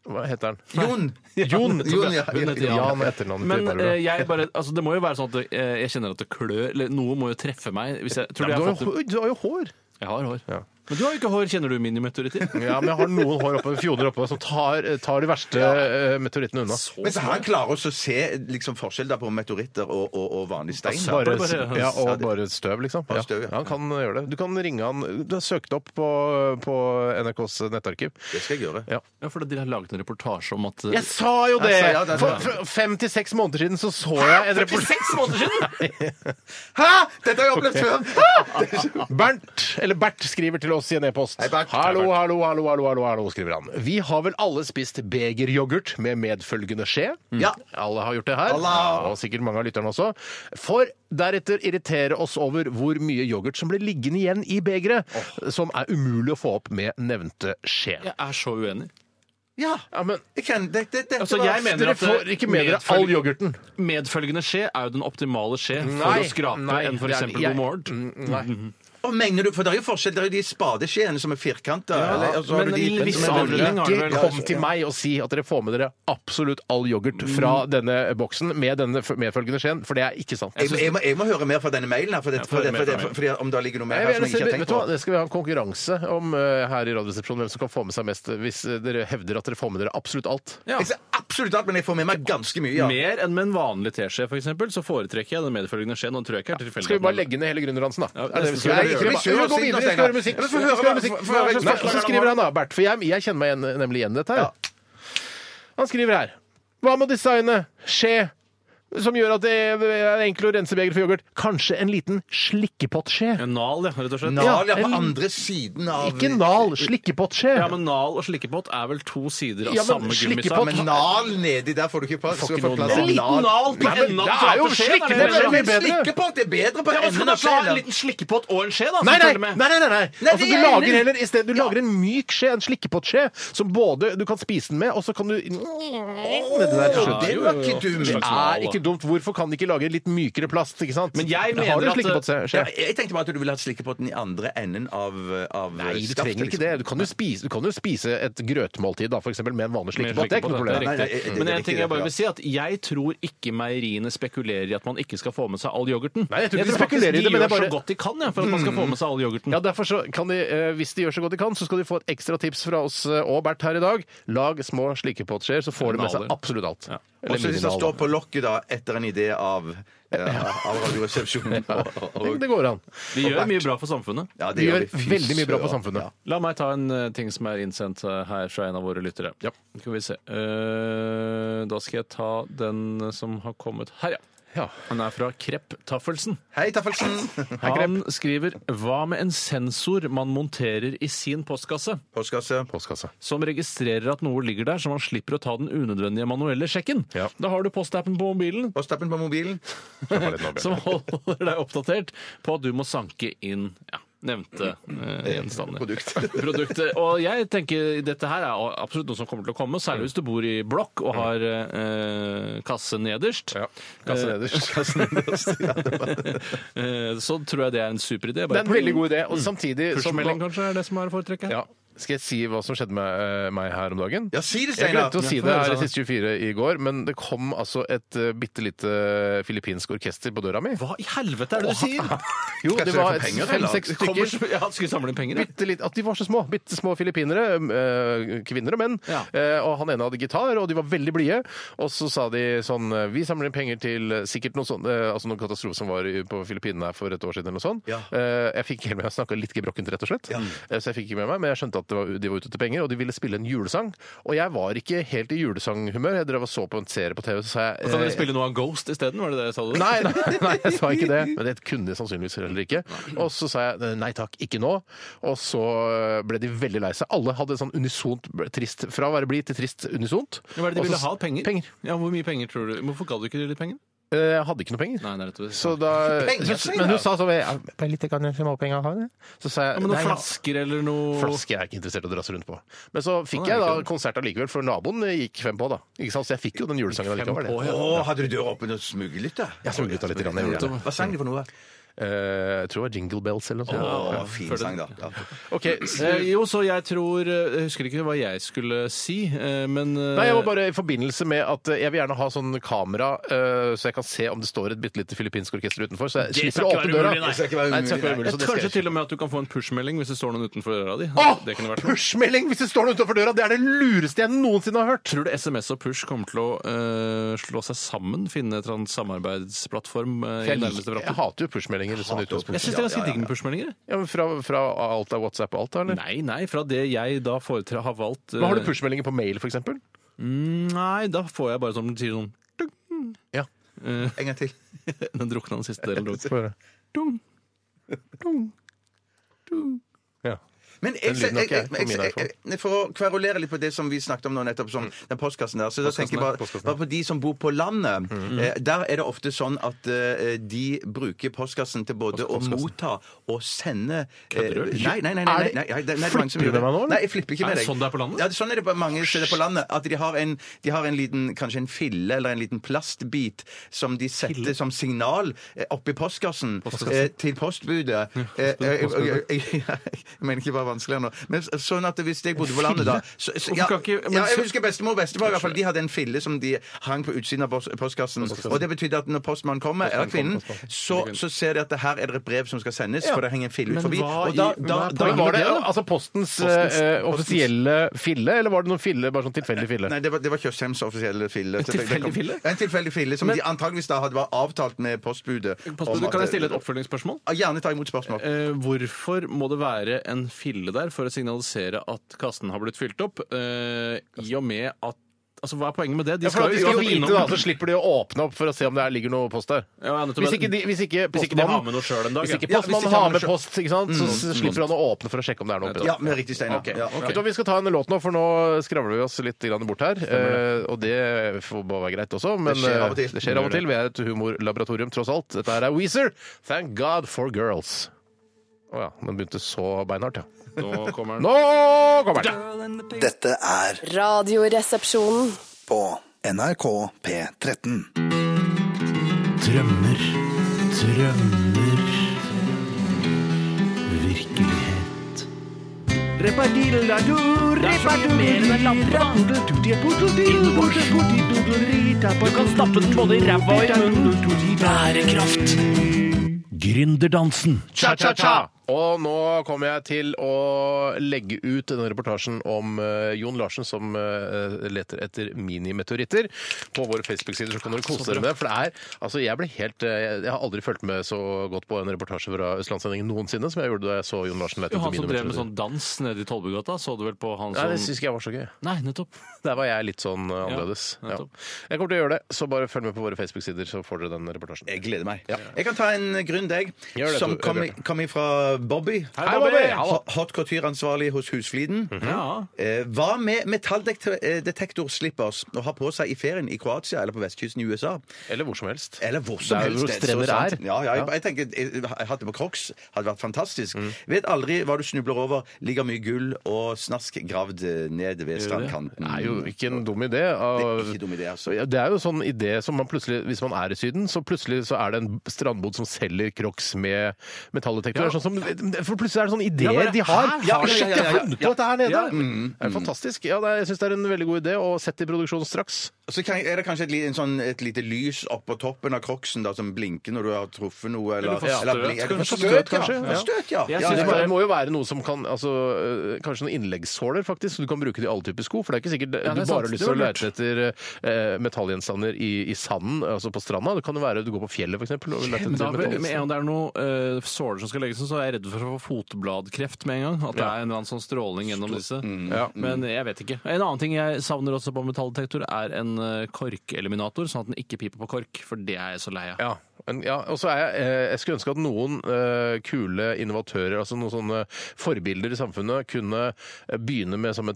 Hva heter han? Jon! Jon. Jon, ja. Hun heter Jan. Jan er etternavnet til Men Barbara. eh, jeg bare, altså, det må jo være sånn at eh, jeg kjenner at det klør eller Noe må jo treffe meg. Hvis jeg, tror Ja, jeg, men har du, fått, har jo, hår- du har jo hår. jeg har hår. Men du har jo ikke hår. Kjenner du minimeteoritter? Ja, men jeg har noen hår oppe, fjoner oppe som tar, tar de verste eh, meteorittene unna. Men så han klarer også å se liksom, forskjell da på meteoritter og, og, og vanlig stein. da. Bare, bare- ja, og bare støv, liksom. Bare Ja. støv, ja. Ja, han kan gjøre det. Du kan ringe han. Du har søkt opp på, på NRKs nettarkiv. Det skal jeg gjøre. [laughs] Ja. Ja, for de har laget en reportasje om at eh, Jeg sa jo det! Jeg sa ja, det- For, for fem til seks måneder siden så så jeg en reportasje måneder siden! Hæ?! Dette har jeg opplevd før! Bernt, eller Bert skriver til oss i en e-post. Hei, Bert. Hallo, Hei, Bert. hallo, hallo, hallo, hallo, hallo, skriver han. Vi har vel alle spist begeryoghurt med medfølgende skje? Ja. Alle har gjort det her, Mm. Alla. og sikkert mange av lytterne også. For deretter irritere oss over hvor mye yoghurt som blir liggende igjen i begeret, som er umulig å få opp med nevnte skje. Jeg er så uenig. Ja, Ja, men jeg kan det, det, det, Altså, det var- jeg mener dere at får ikke med dere all yoghurten. Medfølgende skje er jo den optimale skje for Nei, å skrape nei, enn det f.eks. er- jeg- God morgen. Og mener du, for det er jo forskjell, det er jo de spadeskjeene som er firkanta. eller- og så har men du en viss som er runde. avdeling har- Ikke kom til meg og si at dere får med dere absolutt all yoghurt fra Mm. denne boksen med denne f- medfølgende skjeen, for det er ikke sant. Jeg, jeg, må, jeg må høre mer fra denne mailen her, for det, for høre det, mer for fra det, for, mailen. fordi om det ligger noe mer Jeg her vil som jeg gjerne se- ikke har vet tenkt du på. hva, Det skal vi ha en konkurranse om eh, her i Radioresepsjonen, hvem som kan få med seg mest, hvis eh, dere hevder at dere får med dere absolutt alt. Ja. Jeg ser absolutt alt, men jeg får med meg ganske mye. Ja. Mer enn med en vanlig teskje, f.eks., så foretrekker jeg den medfølgende skjeen. Og den tror jeg ikke er tilfeldig. Skal vi bare legge ned hele gründerdansen, da? Ja, Er det vi skal Nei, gjøre? ikke Skal vi hvis vi må vi gå gjør videre, vi skal Sten, høre Stein. musikk. Vi Men få skal høre- høre musikk. få- få høre- Nei, og så skriver han da, Bert, for jeg, jeg kjenner meg igjen, nemlig igjen i dette her. Han skriver her Hva med designet? Skje? Som gjør at det er enkelt å rense begeret for yoghurt. Kanskje en liten slikkepottskje? En Nal, ja, rett og slett. Nal er Ja, på en- andre siden av Ikke nal, slikkepottskje. Ja, men Nal og slikkepott er vel to sider av Ja, men samme gummisak? slikkepott- Men nal nedi der får du ikke plass. Får Skal ikke få noe plass nal. til Liten nal på Nei, men det enden av den er jo flate skjeen, slikke, er det det jeg er mener. mye bedre. Slikkepott er bedre på Ja, men enden skal av du ha en skjeen. liten slikkepott og en skje, da? så Nei, nei, følger nei, med? nei, nei, nei. Altså, det du er jeg enig lager i. heller i stedet, du lager en myk skje, en slikkepotskje, som både du kan spise den med, og så kan du Det der til Ja, slutt. det jo, var jo, ikke jo. dumt. Det er ikke dumt. Hvorfor kan de ikke lage en litt mykere plast? ikke sant? Men Da jeg mener har du at- slikkepottskje. Ja, jeg tenkte bare at du ville hatt slikkepotten i andre enden av, av Nei, du skaftet, trenger ikke liksom. det. Du kan jo spise, du kan jo spise et grøtmåltid da, for eksempel, med en vanlig slikkepott. Det er ikke noe Med problem. slikkepott, det Nei, nei, er det- riktig. det- Men det er en ting ikke jeg bare det, vil si er at jeg tror ikke meieriene spekulerer i at man ikke skal få med seg all yoghurten. Nei, jeg tror ikke de faktisk spekulerer i det, men gjør jeg bare- Mm. så godt de kan ja, for at man skal få med seg all yoghurten. Ja, derfor så kan de, eh, Hvis de gjør så godt de kan, så skal de få et ekstra tips fra oss eh, og Bert her i dag. Lag små slikkepottskjeer, så får de med seg Naler. absolutt alt. Ja. Og så hvis det minimal, står da. på lokket da, etter en idé av, eh, [laughs] av Radioresepsjonen og, og, Det- og Det går an. De gjør mye bra for samfunnet. ja, det De gjør vi. Fy veldig mye bra for søren. samfunnet. La meg ta en eh, ting som er innsendt eh, her fra en av våre lyttere. Ja. Skal vi se. Eh, da skal jeg ta den eh, som har kommet her, ja. Ja. Den er fra Krepp Taffelsen. Hei, Taffelsen! Han skriver Hva med en sensor man monterer i sin postkasse, Postkasse. Postkasse. som registrerer at noe ligger der, så man slipper å ta den unødvendige manuelle sjekken? Ja. Da har du postappen på mobilen Postappen på mobilen. som holder deg oppdatert på at du må sanke inn ja, nevnte eh, gjenstander. [laughs] Produkt. Produktet. Og jeg tenker dette her er absolutt noe som kommer til å komme, særlig hvis du bor i blokk og har eh, kasse nederst. Kasse [laughs] nederst. [laughs] Eh, så tror jeg det er en super idé. Det er en veldig god idé. Og samtidig som- Mm. Pushmelding kanskje er det som er å foretrekke? Ja. Skal jeg si hva som skjedde med eh, meg her om dagen? Ja, si det, Jeg Steinar! glemte å si Ja, få det høre, her i Steinar. siste 24 i går, men det kom altså et uh, bitte lite filippinsk orkester på døra mi. Hva i helvete er det du sier? Jo, Skal jeg det sørge var for penger, eller? fem-seks Det kommer stykker. så- Ja, skulle samle inn penger, ja. Bitte litt, at de var så små. Bitte små filippinere. eh, kvinner og menn. Ja. Eh, og han ene hadde gitar, og de var veldig blide. Og så sa de sånn eh, Vi samler inn penger til eh, sikkert noe sånn, eh, altså noen katastrofe som var i- på Filippinene her for et år siden, eller noe sånt. Ja. Eh, jeg fikk ikke helt med meg, jeg snakka litt gebrokkent, rett og slett. Eh, så jeg fikk ikke med meg, men jeg skjønte at det var, de var ute etter penger, og de ville spille en julesang. Og jeg var ikke helt i julesanghumør. Jeg drev og så på en serie på TV, så sa jeg Kan dere eh, spille noe av Ghost isteden? Var det det jeg sa? du? Nei, nei, nei, jeg sa ikke det. Men det kunne jeg sannsynligvis heller ikke. Og så sa jeg nei takk, ikke nå. Og så ble de veldig lei seg. Alle hadde sånn unisont trist Fra å være blid til trist unisont. Hva er det de Og så- ville ha? Penger? Penger. Ja, Hvor mye penger tror du? Hvorfor ga du ikke de litt penger? Eh, Jeg hadde ikke noe penger. Nei, det er rett og slett. Så da, Penger, så, men hun sa sånn ja, Bare litt grann småpenger har du? Så sa jeg Ja, men noen «Nei, ja, flasker eller noe Flaske er jeg ikke interessert i å drasse rundt på. Men så fikk Å, nei, jeg da ikke det. konsert allikevel, for naboen gikk fem på, da. Ikke sant? Så jeg fikk jo den julesangen allikevel. på, det. ja. Å, hadde du døra åpen og smuglet, da? Jeg smuglet av litt. Grann, jeg, gjorde det. Hva sang du for noe? Eh, jeg tror det var Jingle Bells eller noe sånt. Å, fin føler sang, da. Ja. Ok, s- Eh, jo, så jeg tror eh, Jeg husker ikke hva jeg skulle si, eh, men eh, Nei, jeg var bare i forbindelse med at eh, jeg vil gjerne ha sånn kamera, eh, så jeg kan se om det står et bitte lite filippinsk orkester utenfor. Så jeg Det slipper skal å ikke åpne være døra. umulig, nei. Det skal ikke være Nei, det skal ikke være umulig. umulig, så det skal Kanskje jeg ikke. til og med at du kan få en pushmelding hvis det står noen utenfor øra di. Åh! Det kunne vært noe. Pushmelding hvis det står noe utenfor døra! Det er det lureste jeg noensinne har hørt! Tror du SMS og push kommer til å eh, slå seg sammen? Finne en samarbeidsplattform eh, i Jeg, nærmeste liker- jeg framtid? hater jo pushmeldinger. Sånn i Jeg utgangspunktet. syns det er ganske digg med pushmeldinger. jeg. ja, men fra, fra alt av WhatsApp og alt, da? eller? Nei, nei, fra det jeg da foretre har valgt eh, Men har du pushmeldinger på mail, f.eks.? Nei, da får jeg bare som den sier sånn dung. Ja. Eh, En gang til. Den drukna den siste delen. Få høre. Dung. Dung. Ja. Men jeg, lyden har jeg, ikke jeg jeg, på jeg, min jeg, jeg, for å kverulere litt på det som vi snakket om nå nettopp, Mm. som den postkassen der, så da tenker jeg der, bare, bare på de som bor på landet. Mm. Eh, der er det ofte sånn at eh, de bruker postkassen til både å motta og sende eh, Nei, nei, nei. nei, nei, nei, nei, det- nei det er mange som Flipper du gjør med meg nå, eller? Nei, jeg flipper ikke Er med det deg. sånn det er på landet? Ja, det- sånn er det på mange steder på landet. At de har en, de har en liten, kanskje en fille eller en liten plastbit som de setter som signal eh, oppi postkassen eh, til postbudet. Eh, eh, eh, eh, [laughs] jeg mener ikke bare vanskeligere nå. Men s- sånn at hvis jeg bodde på landet da så, så, ja, Hvorfor kan ikke- men ja, så- Jeg husker bestemor og bestefar. i hvert fall, De hadde en fille som de hang på utsiden av post- postkassen. Og det betydde at når postmannen kommer, eller kvinnen, så, så ser de at det her er det et brev som skal sendes, for det henger en fille Men forbi. hva Og da, i- da, hva er da, Men var det da? altså postens, eh, offisielle fille, eller var det noen fille, bare sånn tilfeldig fille? Nei, det var, det var Tjøstheims offisielle fille. tilfeldig Det kom- fille? Ja, En tilfeldig fille, som de antageligvis da hadde var avtalt med postbudet. Pass på, om du at- kan jeg stille et oppfølgingsspørsmål? Ja, Gjerne ta imot spørsmål. Eh, hvorfor må det være en fille der for å signalisere at kassen har blitt fylt opp? Eh, I og med at Altså, Hva er poenget med det? De Ja, for at de skal uansett vite, da, så slipper de å åpne opp for å se om det er, ligger noe post der. Ja, nettopp. Hvis ikke, de, hvis ikke Hvis ikke de postmannen- har med noe selv en dag, Hvis ikke ja. Ja, hvis postmannen ikke han har med selv- post, ikke sant? Mm. så s- slipper han å åpne for å sjekke om det er noe oppi der. Ja, men riktig, Steinar. Ja, ok. Vet du hva, Vi skal ta en låt nå, for nå skravler vi oss litt grann bort her. Eh, og det får bare være greit også, men skjer av og til. eh, det skjer av og til. Vi er et humorlaboratorium, tross alt. Dette her er Weezer. Thank God for girls. Å ja. Den begynte så beinhardt, ja. Nå kommer den. Nå kommer den! Dette er Radioresepsjonen. på NRK P13. Drømmer, drømmer Virkelighet Det er så mye mer enn en lampe. Du kan stappe den både i ræva og i munnen. Bærekraft. Gründerdansen. Cha-cha-cha! Og nå kommer jeg til å legge ut denne reportasjen om eh, Jon Larsen som eh, leter etter minimeteoritter. På våre Facebook-sider så kan dere kose dere med det. For det er, altså jeg ble helt, eh, jeg har aldri fulgt med så godt på en reportasje fra Østlandssendingen noensinne som jeg gjorde da jeg så Jon Larsen lete Jo, etter han som drev med minimeteoritter. sånn dans nede i Tollbugata, så du vel på han Nei, som det syns ikke jeg var så gøy. Nei, nettopp. Der var jeg litt sånn eh, annerledes. Ja, nettopp. Jeg kommer til å gjøre det, så bare følg med på våre Facebook-sider, så får dere den reportasjen. Jeg gleder meg. Jeg kan ta en grunn, deg, Gjør det, som Tor- kommer Bjarte. kom fra Bobby. Hei, Bobby! Ho- Hot couture-ansvarlig hos Husfliden. Ja. Eh, Hva med metalldetektorslippers å ha på seg i ferien i Kroatia eller på vestkysten i USA? Eller hvor som helst. Eller hvor Det som er jo helst. hvor det er så strender sant. er. Ja, ja, jeg, jeg tenker, jeg, jeg hadde på Crocs hadde vært fantastisk. Mm. Vet aldri hva du snubler over. Ligger mye gull og snask gravd eh, ned ved strandkanten. Det er jo ikke en dum idé. av- Det er ikke en dum idé, altså. Ja, Det er jo sånn idé som man plutselig, hvis man er i Syden, så plutselig så er det en strandbod som selger Crocs med metalldetektor. Det er Sånn som For plutselig er det sånne ideer bare, de har. hæ? Ja, Ja, ja, shit, ja, jeg ja, har funnet på dette her nede! Ja, Mm. Det er fantastisk. Ja, det er, jeg syns det er en veldig god idé, og sett i produksjon straks. Så kan, er det kanskje et, li- en sånn, et lite lys oppå toppen av crocsen da, som blinker når du har truffet noe? Eller, Eller for støt, blink- eller for kanskje. støt, Støt, kanskje, ja. ja. For støt, ja. Jeg ja, Det synes ja, må, ja. det må jo være noe som kan altså, øh, Kanskje noen innleggssåler, faktisk. Så du kan bruke det i alle typer sko. For det er ikke sikkert det er du sant. bare har lyst Det til var å lete etter eh, metallgjenstander i, i sanden, altså på stranda. Det kan jo være du går på fjellet, f.eks. og leter etter Men da, med en metallgjenstander. gang det er noe eh, såler som skal legges, så er jeg redd for å få fotbladkreft med en gang. At det er en eller annen sånn stråling gjennom disse. Mm. Mm. Ja. Men jeg vet ikke. En annen ting jeg savner også på metalldetektor, er en eh, korkeliminator, sånn at den ikke piper på kork. For det er jeg så lei av. Ja. men- ja, og så er jeg, eh, jeg skulle ønske at noen eh, kule innovatører, altså noen sånne forbilder i samfunnet, kunne eh, begynne med sånn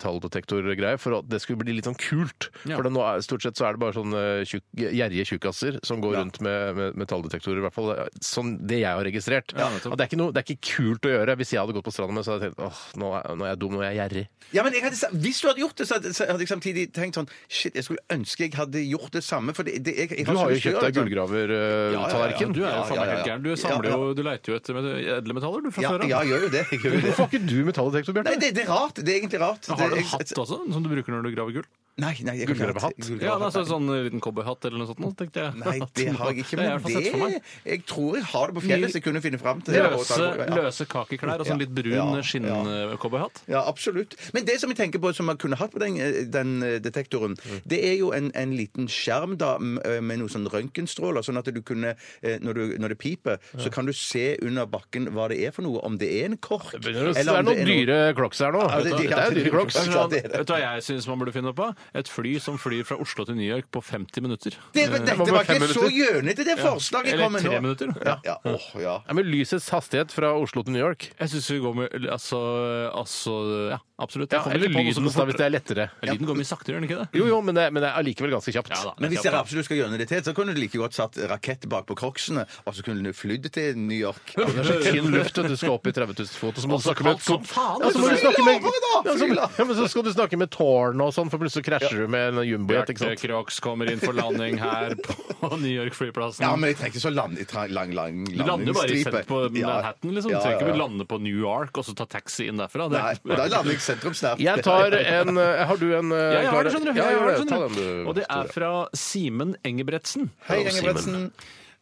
metalldetektorgreier, for at det skulle bli litt sånn kult. Ja. For det nå er, stort sett så er det bare sånne tjukk, gjerrige tjukkaser som går rundt med, med metalldetektorer, i hvert fall eh, sånn det jeg har registrert. Ja, nettopp. At det, er ikke noe, det er ikke kult å gjøre. Hvis jeg hadde gått på stranda med, så hadde jeg tenkt åh, nå er, nå er jeg dum, nå er jeg gjerrig. Ja, men jeg hadde, sa- hvis du hadde gjort det, så hadde, så hadde jeg samtidig tenkt sånn Shit, jeg skulle ønske jeg hadde gjort det samme. For det, det, jeg, jeg Du har så jo lyst til å kjøpt gjøre deg eh, det, sånn. ja, ja. gullgravertallerken. Du er jo faen meg Ja, ja, ja. helt gæren. Du samler Ja, jo Du leiter jo etter med- edle metaller, du, fra Ja, før ja, av. jeg gjør jo det. Jeg gjør [laughs] jo det. Hvorfor har ikke du metalldetektor, Bjarte? Nei, det, det er rart. Det er egentlig rart. Har du Det- en jeg- hatt også, sånn som du bruker når du graver gull? Nei, nei, jeg kan ikke ha Gullgravehatt? gullgravehatt. Ja, altså sånn liten cowboyhatt eller noe sånt, nå, tenkte jeg. Nei, det har jeg [laughs] ikke. Det har jeg i Men hvert fall sett for det meg. Jeg tror jeg har det på fjellet, så jeg kunne finne fram til det. og ta Løse, det på- ja. løse kakeklær og sånn litt brun Ja, ja. skinn-cowboyhatt. Ja, absolutt. Men det som jeg tenker på som man kunne hatt på den, eh, den detektoren, Mm. det er jo en, en liten skjerm da m- med noen sånn røntgenstråler, sånn at du kunne, eh, når, du, når det piper, så kan du se under bakken hva det er for noe, om det er en kork. Det begynner å- det er om noen dyre crocs her nå. Ja, det- Dette ja, er det- dyre crocs. Ja, Vet du klart hva- det er det. vet du hva jeg syns man burde finne på? Et fly som flyr fra Oslo til New York på 50 minutter. Det, Eh, dette Hva med var fem ikke så gjønete, det forslaget Eller kom med nå. tre minutter. Ja, ja. Åh, ja. Ja, men lysets hastighet fra Oslo til New York. Jeg syns vi går med Altså, altså ja, absolutt. Jeg Ja, kommer eller ikke på noe som lydens, da, går hvis det fortere. er lettere. Lyden går mye saktere, gjør den ikke det? Jo, jo, men det, men det er allikevel ganske kjapt. Ja da. Men hvis dere absolutt skal gjøre det til, så kunne du like godt satt rakett bak på crocsene, og så kunne du flydd til New [laughs] York. Ja, det er så tynn luft, og du skal opp i 30 000 fot, og så må du så snakke med kaldt som Altså, faen, Ja, så må altså. du snakke med Fly lavere, da! ja, så, Fly lavere. ja, men så skal du snakke med tårnet og sånn, for plutselig så krasjer du med en jumbojet, ikke Bjarte sant? Crox kommer inn for landing her på New York-flyplassen. Ja, men jeg trenger ikke så land, lang, lang, lang Du lander jo bare i landingsstripe. sent på Manhattan, liksom. Du Ja, trenger ja, ikke ja. lande på New York og så ta taxi inn derfra. Det Nei, da lander jeg sentrum snart. Jeg tar en eh, Har du en eh, Ja, jeg har Klara? det, skjønner du. Ja, Jeg gjør har det, det. Ta skjønner du. den, du. Og det er fra Simen Engebretsen. Hei, Hallo, Simen. Engebretsen.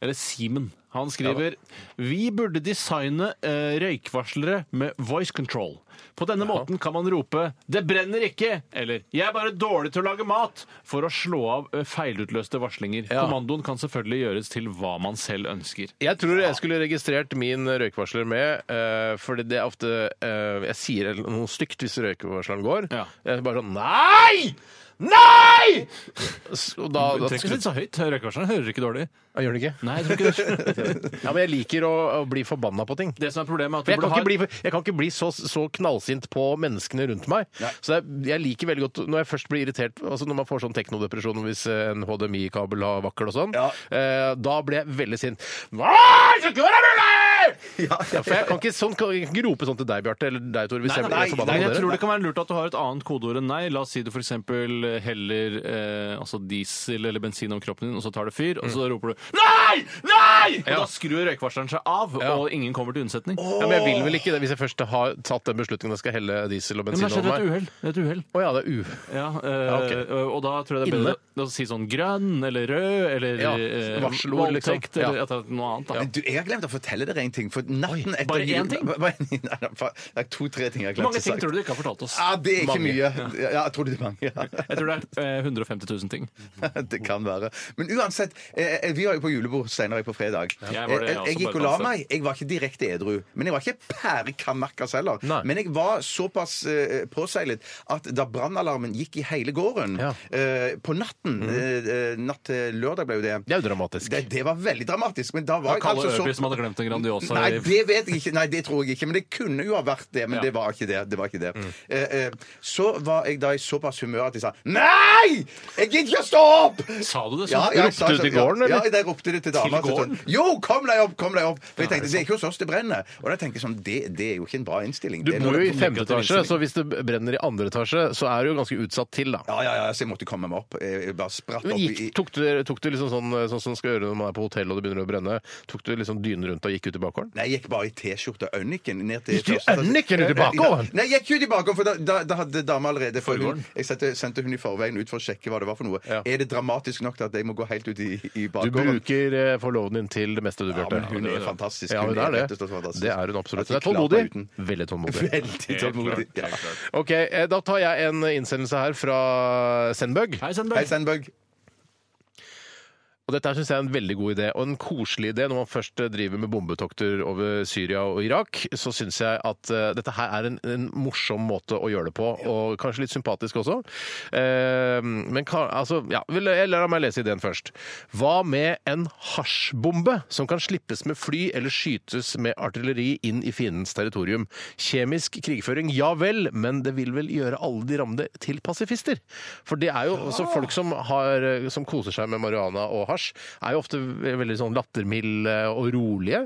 Eller Simen. Han skriver Vi burde designe eh, røykvarslere med voice control. På denne måten kan man rope 'Det brenner ikke!' eller 'Jeg er bare dårlig til å lage mat!' for å slå av eh, feilutløste varslinger. Ja. Kommandoen kan selvfølgelig gjøres til hva man selv ønsker. Jeg tror jeg skulle registrert min røykvarsler med, uh, fordi det er ofte eh, Jeg sier noe stygt hvis røykvarsleren går. Ja. Jeg er bare sånn Nei! Nei! S- Og da, Du da trenger ikke si det så høyt. Røykvarsleren hører ikke dårlig. Jeg gjør det ikke. Nei, jeg tror ikke det. [laughs] Ja, men jeg liker å, å bli forbanna på ting. Det som er problemet, er at For du jeg, kan burde ha ikke bli, jeg kan ikke bli så, så knallsint på menneskene rundt meg. Så jeg, jeg liker veldig godt når jeg først blir irritert altså Når man får sånn teknodepresjon hvis en HDMI-kabel har vakkel og sånn, eh, da blir jeg veldig sint. Hva skal det være mulig?! Ja, for jeg kan ikke, sånn, kan jeg ikke rope sånn til deg, Bjarte, eller deg, Tor. Hvis Nei, jeg nei, blir nei, forbanna jeg på tror det dere. kan være lurt at du har et annet kodeord enn nei. La oss si du f.eks. heller eh, altså diesel eller bensin om kroppen din, og så tar det fyr, og så roper du Nei! Nei! Og Mm. Ja. da skrur røykvarsleren seg av, og ingen kommer til unnsetning. Ja, men jeg vil vel ikke det, hvis jeg først har tatt den beslutningen at jeg skal helle diesel og Men det bensin har skjedd over meg. et uhell. Det er Et uhell. Å ja, det er u... Ja, eh, Ja, ok. og- Og da tror jeg det er Inne. bedre å si sånn grønn eller rød eller Ja, eh, varselord, liksom. voldtekt eller Ja. at det er noe annet. Da. Men du, jeg har glemt å fortelle dere en ting. For natten etter bare jul- én ting? [laughs] Bare- Nei, nei, fa- det er to-tre ting jeg har Hvor glemt mange ting tror du du ikke har fortalt oss? Ah. Ja, det er ikke Mange. mye. Ja, jeg tror det er mange. Ja. Jeg tror det er eh, 150 000 ting. [laughs] Det kan være. Men uansett, eh, eh, vi var jo på julebord Steinar og jeg på fredag. Jeg var det, jeg Eh, også, jeg bare gikk og la danset. meg. Jeg var ikke direkte edru. Men jeg var ikke pærekammerkas heller. Nei. Men jeg var såpass eh, påseilet at da brannalarmen gikk i hele gården Ja. eh, på natten eh, eh, Natt til lørdag ble jo det. Det er jo dramatisk. Det, det var veldig dramatisk. Men da var jeg Kalle altså så Øby som hadde glemt en Grandiosa. Nei, i- det vet jeg ikke. Nei, det tror jeg ikke. Men det kunne jo ha vært det. Men Ja. det var ikke det. det, var ikke det. Mm. Eh, eh, så var jeg da i såpass humør at jeg sa Nei! Jeg gidder ikke å stå opp! Sa du det sånn? Ja, jeg Ropte sa du sånn, til gården, eller? Ja, ja, jeg ropte det til dama. Til så sånn, gården? jo, kom deg opp! kom deg opp For jeg tenkte, Det er ikke hos oss det brenner. Og da tenkte jeg sånn, det, det er jo ikke en bra innstilling. Du Det er bor noe- jo i femte negativ etasje, innstilling. så hvis det brenner i andre etasje, så er du jo ganske utsatt til, da. Ja, ja, ja, så jeg måtte komme meg opp. Jeg jeg bare spratt Men opp gikk, i eh, tok, du, tok du liksom sånn, sånn som man skal gjøre når man er på hotell og det begynner å brenne, tok du liksom dynen rundt og gikk ut i bakgården? Nei, jeg gikk bare i T-skjorte og øyniken ned til Gikk du i øyniken ut i bakgården? Nei, jeg gikk jo i bakgården, for da, da, da hadde dama allerede for hun, Jeg sendte, sendte hun i forveien ut for å sjekke hva det var for noe. Ja. Er det dramatisk nok til at jeg må gå helt ut i, i Du bakgården? bruker eh, forloven din til det meste du, Bjarte. men hun er fantastisk. Ja, Hun hun er er rett og slett det. fantastisk. Det er hun absolutt. At Hun jeg er klapper tålmodig. uten. Veldig [laughs] tålmodig. Veldig tålmodig. Ja. Ok, eh, Da tar jeg en innsendelse her fra Sendbøg. Hei, Hei, Sandberg. Sandberg. Og dette syns jeg er en veldig god idé, og en koselig idé når man først eh, driver med bombetokter over Syria og Irak. Så syns jeg at eh, dette her er en, en morsom måte å gjøre det på, og kanskje litt sympatisk også. Eh, men ka, altså, ja, vel, jeg lar meg lese ideen først. Hva med en hasjbombe som kan slippes med fly eller skytes med artilleri inn i fiendens territorium? Kjemisk krigføring, ja vel, men det vil vel gjøre alle de rammede til pasifister? For det er jo også folk som, har, som koser seg med marihuana og hasj, er jo ofte ve- veldig sånn lattermilde og rolige.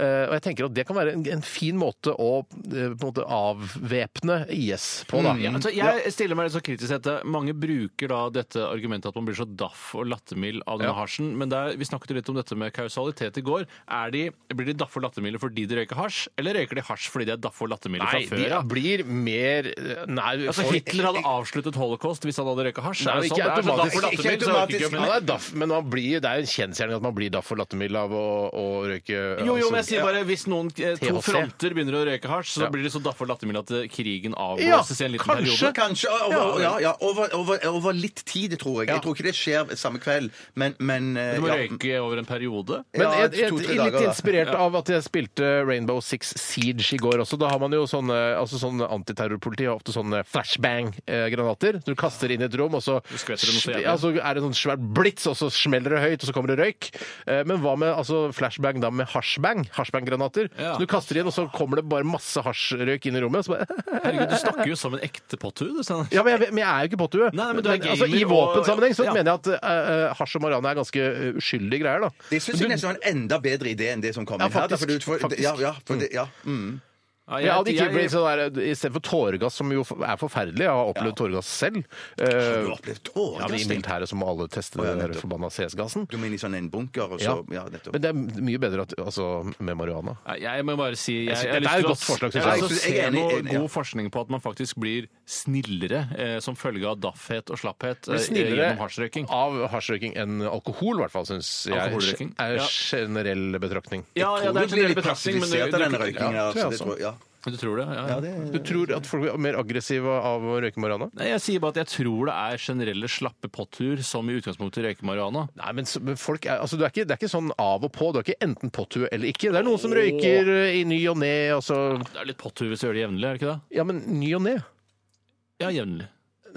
Eh, Og jeg tenker at det kan være en, en fin måte å eh, på en måte avvæpne IS på, da. Ja, altså, jeg stiller meg litt så kritisk til dette. Mange bruker da dette argumentet at man blir så daff og lattermild av denne Ja. hasjen. Men der, vi snakket jo litt om dette med kausalitet i går. Er de, blir de daffe og lattermilde fordi de røyker hasj, eller røyker de hasj fordi de er daffe og lattermilde fra Nei, før? de av? blir mer eh, Nei, Altså, folk- Hitler hadde avsluttet holocaust hvis han hadde røyka hasj. Nei, Er det ikke sånn? Det er så automatisk. daff og Ikke lattermild, så røyker automatisk. ikke, Han men- er daff, men man blir, det er jo en kjensgjerning at man blir daff og lattermild av å, å røyke Jo, jo, men jeg altså- sier bare hvis noen eh, to THC. fronter begynner å røyke hasj, så Ja. blir de så daffe og lattermilde at eh, krigen Ja, avblåses i en liten kanskje. periode. Kanskje over, ja, ja, over, over, over litt tid, tror jeg. Ja. Jeg tror ikke det skjer samme kveld, men, men eh, Du må ja. røyke over en periode. Men Ja, jeg, jeg, jeg to-tre er dager, litt da. inspirert av at jeg spilte Rainbow Six Siege i går også. Da har man jo sånne altså sånn antiterrorpoliti har ofte sånne flashbang-granater. Du kaster inn i et rom, og så, skvetter det noe så jævlig. ja, så er det sånn svær blits, og så smeller det høyt, og så kommer det røyk. Eh, Men hva med altså, flashbang da med hasjbang? Hasjbang-granater. Ja. Så Du kaster inn, og så kommer det bare masse hasjrøyk inn i rommet. og Så bare [laughs] Herregud, du snakker jo som en ekte potthue. du, Steinar. Ja, men jeg, vet- men jeg er jo ikke påtue. Nei, men du er altså, I gamer og- våpensammenheng så ja. mener jeg at eh, eh, hasj og marihuana er ganske eh, uskyldige greier, da. Det syns jeg nesten var en enda bedre idé enn det som kom Ja, inn her. da, faktisk. for du- for- Faktisk. Ja, ja, for det, ja. Mm. Ja, Ja, at det ikke jeg- blir sånn der, I stedet for tåregass, som jo er forferdelig, jeg har opplevd tåregass selv Du eh, har opplevd tårer. ja, men I militæret så må alle teste den der forbanna CS-gassen. Du må inn i sånn en bunker, og Ja. så Ja, nettopp. Men det er mye bedre at, altså, med marihuana. Nei, Jeg må bare si jeg, Jeg synes- jeg har dette er et lyst til å- godt forslag, synes Jeg jeg. har lyst til å Jeg synes- jeg er se enig- noe enig, ja. god forskning på at man faktisk blir snillere eh, som følge av daffhet og slapphet Men eh, snillere gjennom hasjrøyking. av hasjrøyking enn alkohol, i hvert fall, syns jeg Alkoholrøyking, er ja. generell betraktning. Ja, ja, det er en blir generell litt betraktning, men du, klassifisert av denne du, røykingen. Ja, tror jeg Ja, så det også. tror jeg, ja. du, du tror det? Ja, ja. Du tror at folk blir mer aggressive av å røyke marihuana? Nei, jeg sier bare at jeg tror det er generelle slappe pottur som i utgangspunktet røyker marihuana. Nei, men s- men folk er, altså, det, er ikke, det er ikke sånn av og på. Du er ikke enten påtue eller ikke. Det er noen som røyker eh, i ny og ne. og så- Det er litt pottur hvis du gjør det jevnlig, er det ikke det? Ja, men ny og ne? Ja, jevnlig.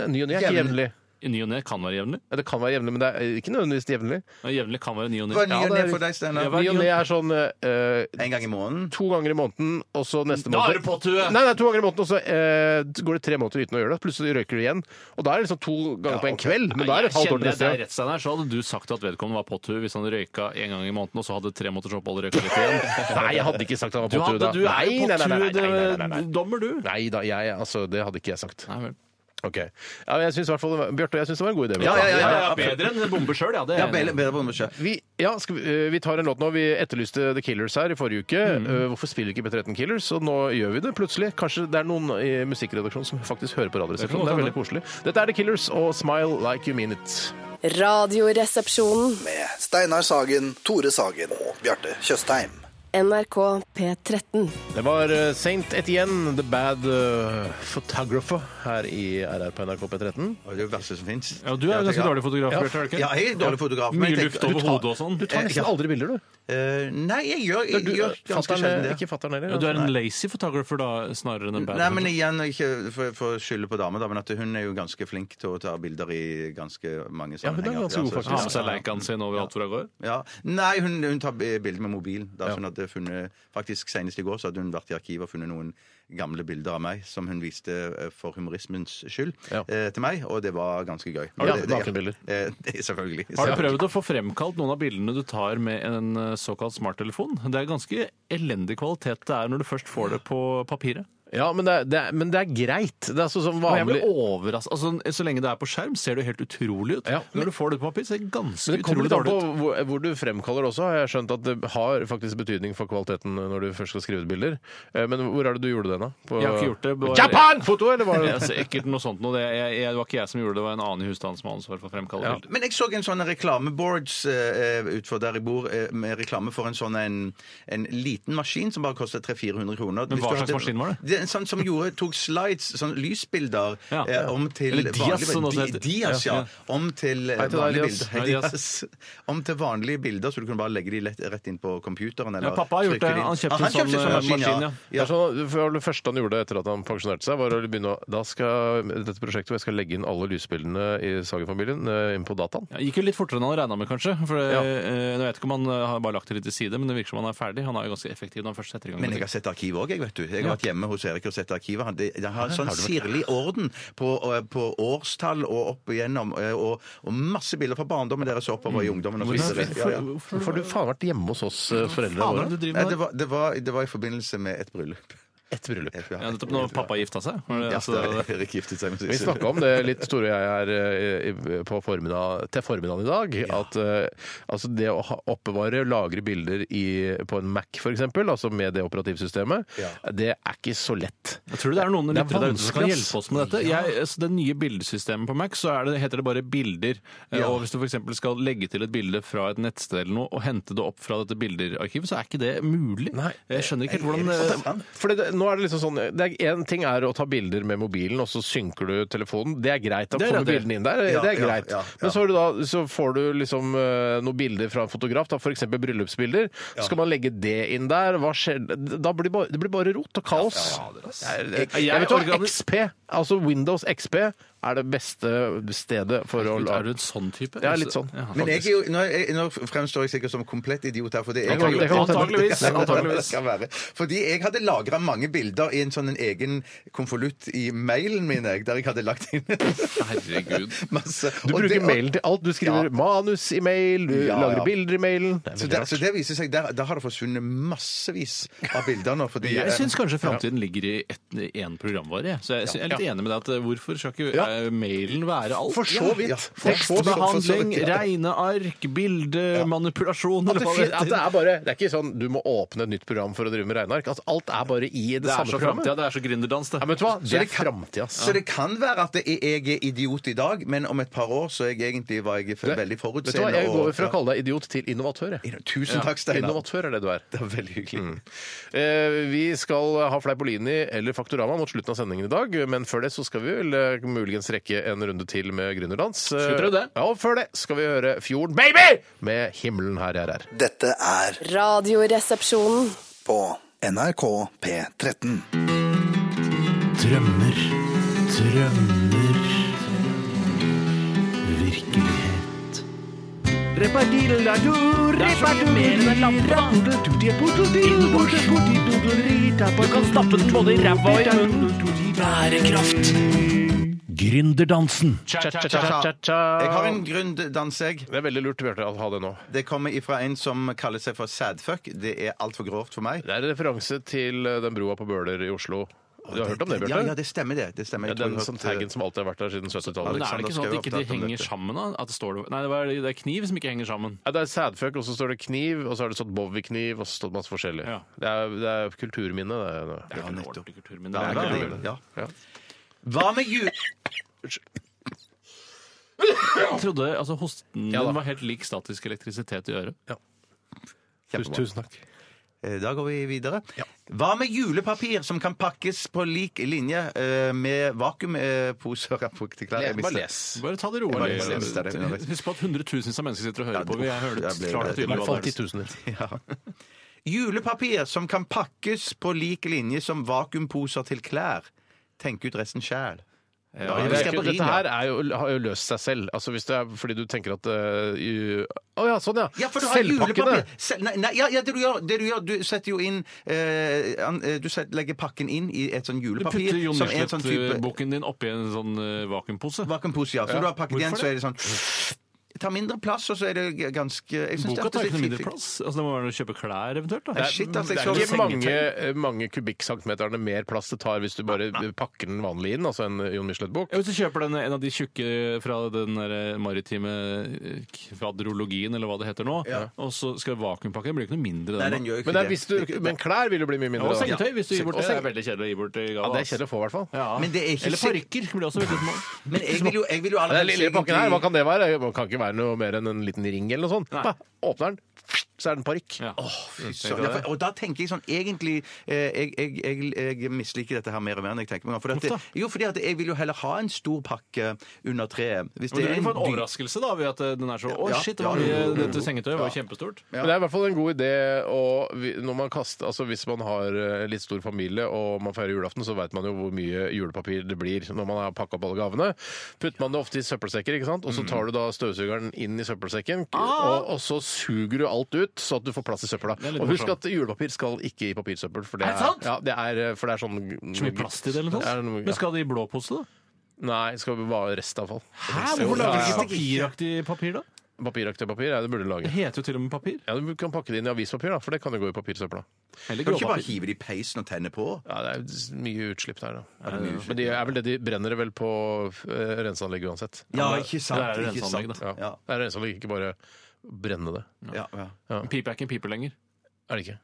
Ny og ne er ikke Jevn- jevnlig. I ny og ne kan være jevnlig. Ja, Det kan være jevnlig, men det er eh, ikke nødvendigvis jevnlig. Ja, Jevnlig kan være ny og Hva er ne. ny og det er ne for deg, Steinar? Ja, Ny og ne er sånn eh, En gang i måneden? to ganger i måneden, og så neste Da er måned det potthue! Nei, nei, to ganger i måneden, og så eh, går det tre måneder uten å gjøre det. Plutselig røyker du igjen. Og da er det liksom to ganger på en kveld, men da er det et halvt år til Kjenner neste jeg deg gang. rett, Steinar, så hadde du sagt at vedkommende var potthue hvis han røyka en gang i måneden, og så hadde tre måneders opphold og røyka litt [laughs] igjen. Nei, jeg hadde ikke sagt at han var Du, påtue hadde, da. du er jo eh. Nei, nei, nei, nei, nei, nei, nei, nei, nei. potthue-dommer, du. Nei da, jeg, altså, det hadde ikke jeg sagt. Nei, vel. Ok. Ja, men jeg synes i hvert fall, det var- Bjarte, jeg syns det var en god idé. Ja, Bjarte. ja, ja. Ja, ja, bedre enn bombe sjøl, ja. Det er Ja, jeg bedre enig i. bedre på meg selv. Vi, ja, skal vi, eh, vi tar en låt nå. Vi etterlyste The Killers her i forrige uke. Eh, Hvorfor spiller ikke P13 Killers? Og nå gjør vi det plutselig. Kanskje det er noen i musikkredaksjonen som faktisk hører på Radioresepsjonen. Det Det er kan veldig koselig. Dette er The Killers og Smile Like You Mean It. Radioresepsjonen. Med Steinar Sagen, Tore Sagen og Bjarte Tjøstheim. NRK P13. Det var eh, Saint Etienne, The Bad eh, Photographer, her i RR på NRK P13. Det er jo det verste som fins. Ja, du er jo ganske dårlig fotograf, Bjarte. er du ikke? Ja, jeg er dårlig fotograf. men Mye jeg luft tenker- over hodet og sånn. Du tar nesten aldri bilder, du. Eh, nei, jeg gjør, jeg, du eh, gjør ganske fatteren, sjelden det. Ikke fatter'n heller. altså. Ja, du er en lazy photographer, da, snarere enn en bad Nei, men photographer. igjen, ikke for, for å skylde på dame, da, men at hun er jo ganske flink til å ta bilder i ganske mange hun er sammenhenger. Altså, ganske god, Ja, så- faktisk. Ha med seg leikaen sin overalt hvor hun går. Ja. Nei, hun, hun tar eh, bilder med mobil. Da, så hun hadde funnet, faktisk Senest i går så hadde hun vært i arkivet og funnet noen gamle bilder av meg som hun viste eh, for humorismens skyld Ja. eh, til meg, og det var ganske gøy. Har du Det- hatt det- nakenbilder? Eh, [laughs] det- selvfølgelig. Har du prøvd å få fremkalt noen av bildene du tar med en eh, såkalt smarttelefon? Det er ganske elendig kvalitet det er når du først får det på papiret. Ja, men det, er- det, er- men det er greit. Det er sånn som Og jeg vanlig blir overrasket. Altså, så lenge det er på skjerm, ser det jo helt utrolig ut. Ja, men- Når du får det på papir, ser det ganske Men det kommer utrolig litt an dårlig på ut. hvor, hvor du fremkaller også. Har jeg skjønt at det har faktisk betydning for kvaliteten når du først skal skrive ut bilder. Eh, Men hvor er det du gjorde det, da? På- Jeg har ikke gjort det, bare- Japan! Foto, eller var det Det er sikkert noe sånt noe. Det, jeg, jeg, det var ikke jeg som gjorde det, det var en annen i husstanden som har ansvar for å fremkalle bilder. Men jeg så en sånn reklameboards eh, utfor der jeg bor, eh, med reklame for en sånn en, en liten maskin som bare koster 300-400 kroner. Men Hvis hva du hadde- slags maskin var det? er en sånn som gjorde, tok slides, sånn lysbilder, [laughs] Ja. eh, om til Eller Dias, vanlige- som det også Di- heter. Dias, ja. Ja. Om til eh, Hei til deg, vanlige Dias. Hei, bilder. Dias. [laughs] Om til vanlige bilder, så du kunne bare legge de lett, rett inn på computeren. Eller Ja, pappa har gjort trykke de det. inn. Han kjøpte Ja, en sånn, eh, maskin, ja. Det er sånn, for det første han gjorde etter at han pensjonerte seg, var å begynne å Da skal dette prosjektet hvor jeg skal legge inn alle lysbildene i Sagen-familien eh, inn på dataen. Ja, gikk jo litt fortere enn han regna med, kanskje. For det, Ja. eh, Jeg vet ikke om han eh, har bare lagt det litt til side, men det virker som han er ferdig. Han er jo ganske effektiv når han først setter i gang. Men jeg med har sett arkivet òg, jeg, vet du. Jeg har vært hjemme hos Erik og sett arkivet. Han, det, det har en sånn sirlig orden på, eh, på årstall og opp igjennom, eh, og, og masse bilder fra barndommen deres og oppover i ungdommen og så videre. Ja, ja. Hvorfor har du faen vært hjemme hos oss eh, foreldrene Faen, hva er våre? det du driver Nei, med? det, var, det, var, det var i forbindelse med et bryllup. Et bryllup. Et- Ja, nettopp når pappa gifta seg. Var det, Ja, altså, da det- Erik giftet seg med Vi Sissel. snakka om [laughs] det litt, Tore og jeg, her eh, i- på formiddag, til formiddagen i dag. At eh, altså det å ha- oppbevare, lagre bilder i, på en Mac f.eks., altså med det operativsystemet, det er ikke så lett. jeg tror det er noen Det er lyttere der ute som kan vanskelig, ass. hjelpe oss med dette. Jeg, altså, det nye bildesystemet på Mac, så er det, heter det bare 'bilder'. Eh, Og hvis du f.eks. skal legge til et bilde fra et nettsted eller noe, og hente det opp fra dette bilderarkivet, så er ikke det mulig. Nei. Jeg skjønner ikke helt hvordan eh, Fordi det, nå er det liksom sånn det er Én ting er å ta bilder med mobilen, og så synker du telefonen. Det er greit. Da Det er kommer greit, det. bildene inn der. Ja, det er ja, greit. ja, ja. Men så, har du da, så får du liksom eh, noen bilder fra en fotograf, da f.eks. bryllupsbilder. Så skal man legge det inn der. Hva skjer? Da blir bare, det blir bare rot og kaos. Jeg, jeg, Jeg vet hva, organi- XP, altså Windows XP, er det beste stedet for å Er du lage en sånn type? Ja, litt sånn. Ja, Men jeg er jo, nå, er jeg, nå fremstår jeg sikkert som komplett idiot her. Fordi jeg Antagelig- har det kan jo- godt hende. Antageligvis, antageligvis. Det kan være. Fordi jeg hadde lagra mange bilder i en sånn en egen konvolutt i mailen min, jeg, der jeg hadde lagt inn [laughs] Herregud. masse. Du Og bruker det- og- mailen til alt. Du skriver Ja. manus i mail, du Ja, lagrer ja. bilder i mailen. Det er Så veldig det, rart. så det viser seg, der, der har det forsvunnet massevis av bilder nå. [laughs] Fordi, Jeg eh, syns kanskje framtiden ligger i ett- én programvare. jeg. Så jeg, jeg er litt enig med deg at eh, hvorfor skal ikke Ja. eh, mailen være alt? For så vidt. Ja, for så vidt. Tekstbehandling, For så vidt, ja. regne ark, bilde, manipulasjon At eller det, hva fin- at det heter. er bare Det er ikke sånn du må åpne et nytt program for å drive med regneark. Altså, alt er bare i det, Det er samme så programmet. framtida, det er så gründerdans, det. Ja, men vet du hva? Det er det kan- framtida. ass. Så det kan være at jeg jeg er idiot i dag, men om et par år så er jeg egentlig var jeg for, veldig Vet du hva, forutseende. Jeg går og- fra å kalle deg idiot til innovatør. ja. Jeg. Tusen takk, Steinar. Innovatør er det du er. Det er veldig hyggelig. Eh, vi skal ha Fleipolini eller Faktorama mot slutten av sendingen i dag, men før det så skal vi vel eh, muligens rekke en runde til med gründerdans. Eh, vi prøve det? Ja, og før det skal vi høre Fjorden Baby med Himmelen her jeg er. Dette er Radioresepsjonen. på NRK P13. Drømmer, drømmer Virkelighet Repadilado, Du kan stappe den både i ræva og i munnen Bærekraft Gründerdansen Jeg har en gründdans, jeg. Det er veldig lurt, Bjarte, å ha det nå. Det kommer ifra en som kaller seg for sadfuck. Det er altfor grovt for meg. Det er en referanse til eh, den broa på Bøler i Oslo. Du har hørt om det, Bjarte? Ja, ja, det stemmer, det. det stemmer. Ja, Jeg tror den jeg som har hørt, eh, taggen som alltid har vært der siden 70-tallet. Men er det ikke Alexander sånn at Schou de ikke de har pratet om henger dette. sammen, da? At det, står, nei, det var- det er kniv som ikke henger sammen. Ja, det er sædføk, og så står det kniv, og så har det stått Bowie-kniv, og så står det masse forskjellig. Ja. Det, er, det er kulturminne, det. er- Det er ikke en ordentlig kultur, men det Ja, er det. det. Ja. Hva med ju... Jeg trodde altså, hosten Ja, da. din var helt lik statisk elektrisitet i øret. Tusen, tusen takk. Eh, Da går vi videre. Hva med julepapir som kan pakkes på lik linje eh, med eh, vakuumposer? Jeg bare [laughs] les. Bare ta det rolig. Jeg bare leste det underveis. Husk på at hundretusenvis av mennesker sitter og hører Ja, på. Vi jeg hører det jeg ble- klart og I tydelig. hvert hva fall det er. titusener. Julepapir som kan pakkes på lik linje som vakuumposer til klær. Tenk ut resten sjæl. Ja, Ja, jeg det husker- skal på Dette rim, her er jo, har jo løst seg selv. Altså hvis det er fordi du tenker at eh, ju- Å ja, sånn ja! Ja, for du har Selvpakkene! julepapir. Sel nei, nei, ja, ja, det du gjør, det du gjør Du setter jo inn eh, an- eh, Du setter, legger pakken inn i et sånn Du julepapir. putter eh, Jon som er en sånn type Michelet-boken din oppi en sånn eh, vakuumpose. vakuumpose. Ja. Så du har pakket Hvorfor igjen, så er det sånn tar mindre plass, og så er det g- ganske jeg synes Boka det er tar ikke noe litt mindre fiffig. plass. Altså, det må være noe å kjøpe klær eventuelt. Da. Nei, shit, Det altså, jeg er så- ikke mange, eh, mange kubikkcentimeterne mer plass det tar hvis du bare pakker den vanlig inn, altså en Jon Michelet-bok. Ja, Hvis du kjøper den, en av de tjukke fra den der eh, maritime eh, kvadrologien, eller hva det heter nå, og så skal vakuumpakken blir ikke noe mindre. Nei, Den, den gjør jo ikke Men, det er, det. hvis du, men klær vil jo bli mye da. mindre. og da. sengetøy, hvis du gir bort Og det. Det seng- er veldig kjedelig å gi bort til gave. Ja, det er kjedelig å få, i hvert fall. Ja. Men det er ikke Eller parykker blir også veldig små. Men jeg vil jo, jeg vil jo Men Den allerede lille pakken her, egentlig- hva kan det være? Det kan ikke være noe mer enn en liten ring eller noe sånt. Nei. Bah, Åpner den, så er det en parykk. Ja. Sånn, ja, for, og da tenker jeg sånn egentlig eh, jeg, jeg, jeg, jeg misliker dette her mer og mer enn jeg tenker meg om. For at det, jo, fordi at jeg vil jo heller ha en stor pakke under treet. Hvis Men du det er vil en få en dyr- overraskelse da, ved at eh, den er så Å, Ja, shit, det ja, var mye, jo, jo, jo, dette sengetøyet var jo kjempestort. Men det er i hvert fall en god idé å, vi- når man kaster, altså hvis man har eh, litt stor familie og man feirer julaften, så vet man jo hvor mye julepapir det blir når man har pakka opp alle gavene. Putter man det ofte i søppelsekker, ikke sant? og Mm. så tar du da støvsugeren inn i søppelsekken, og, og så suger du alt ut, så at du får plass i søpla. Ah! er litt Og husk morsomt. at julepapir skal ikke i papirsøppel, for det Er det er, sant? ja, det er, eh, for det er sånn Så mye plass til det, eller Det er noe? noe- Men skal det i blå pose, da? Nei, det skal være restavfall. Hæ, hvorfor lager du ikke papiraktig papir, da? Papiraktig papir er det du burde Det lage. heter jo til og med papir. Ja, Du kan pakke det inn i avispapir, da, for det kan jo gå i papirsøpla. Eller Kan du ikke bare gråpapir. hive det i peisen og tenne på? Ja, det er mye utslipp der, da. Men de er vel det de brenner det vel på eh, renseanlegg uansett. Ja, ikke sant. det er sånn jo ikke renseanlegg, sant. da. Ja. Ja. Det er renseanlegg, ikke bare brenne det. Ja, ja. Pipe er ikke en pipe lenger. Er det ikke?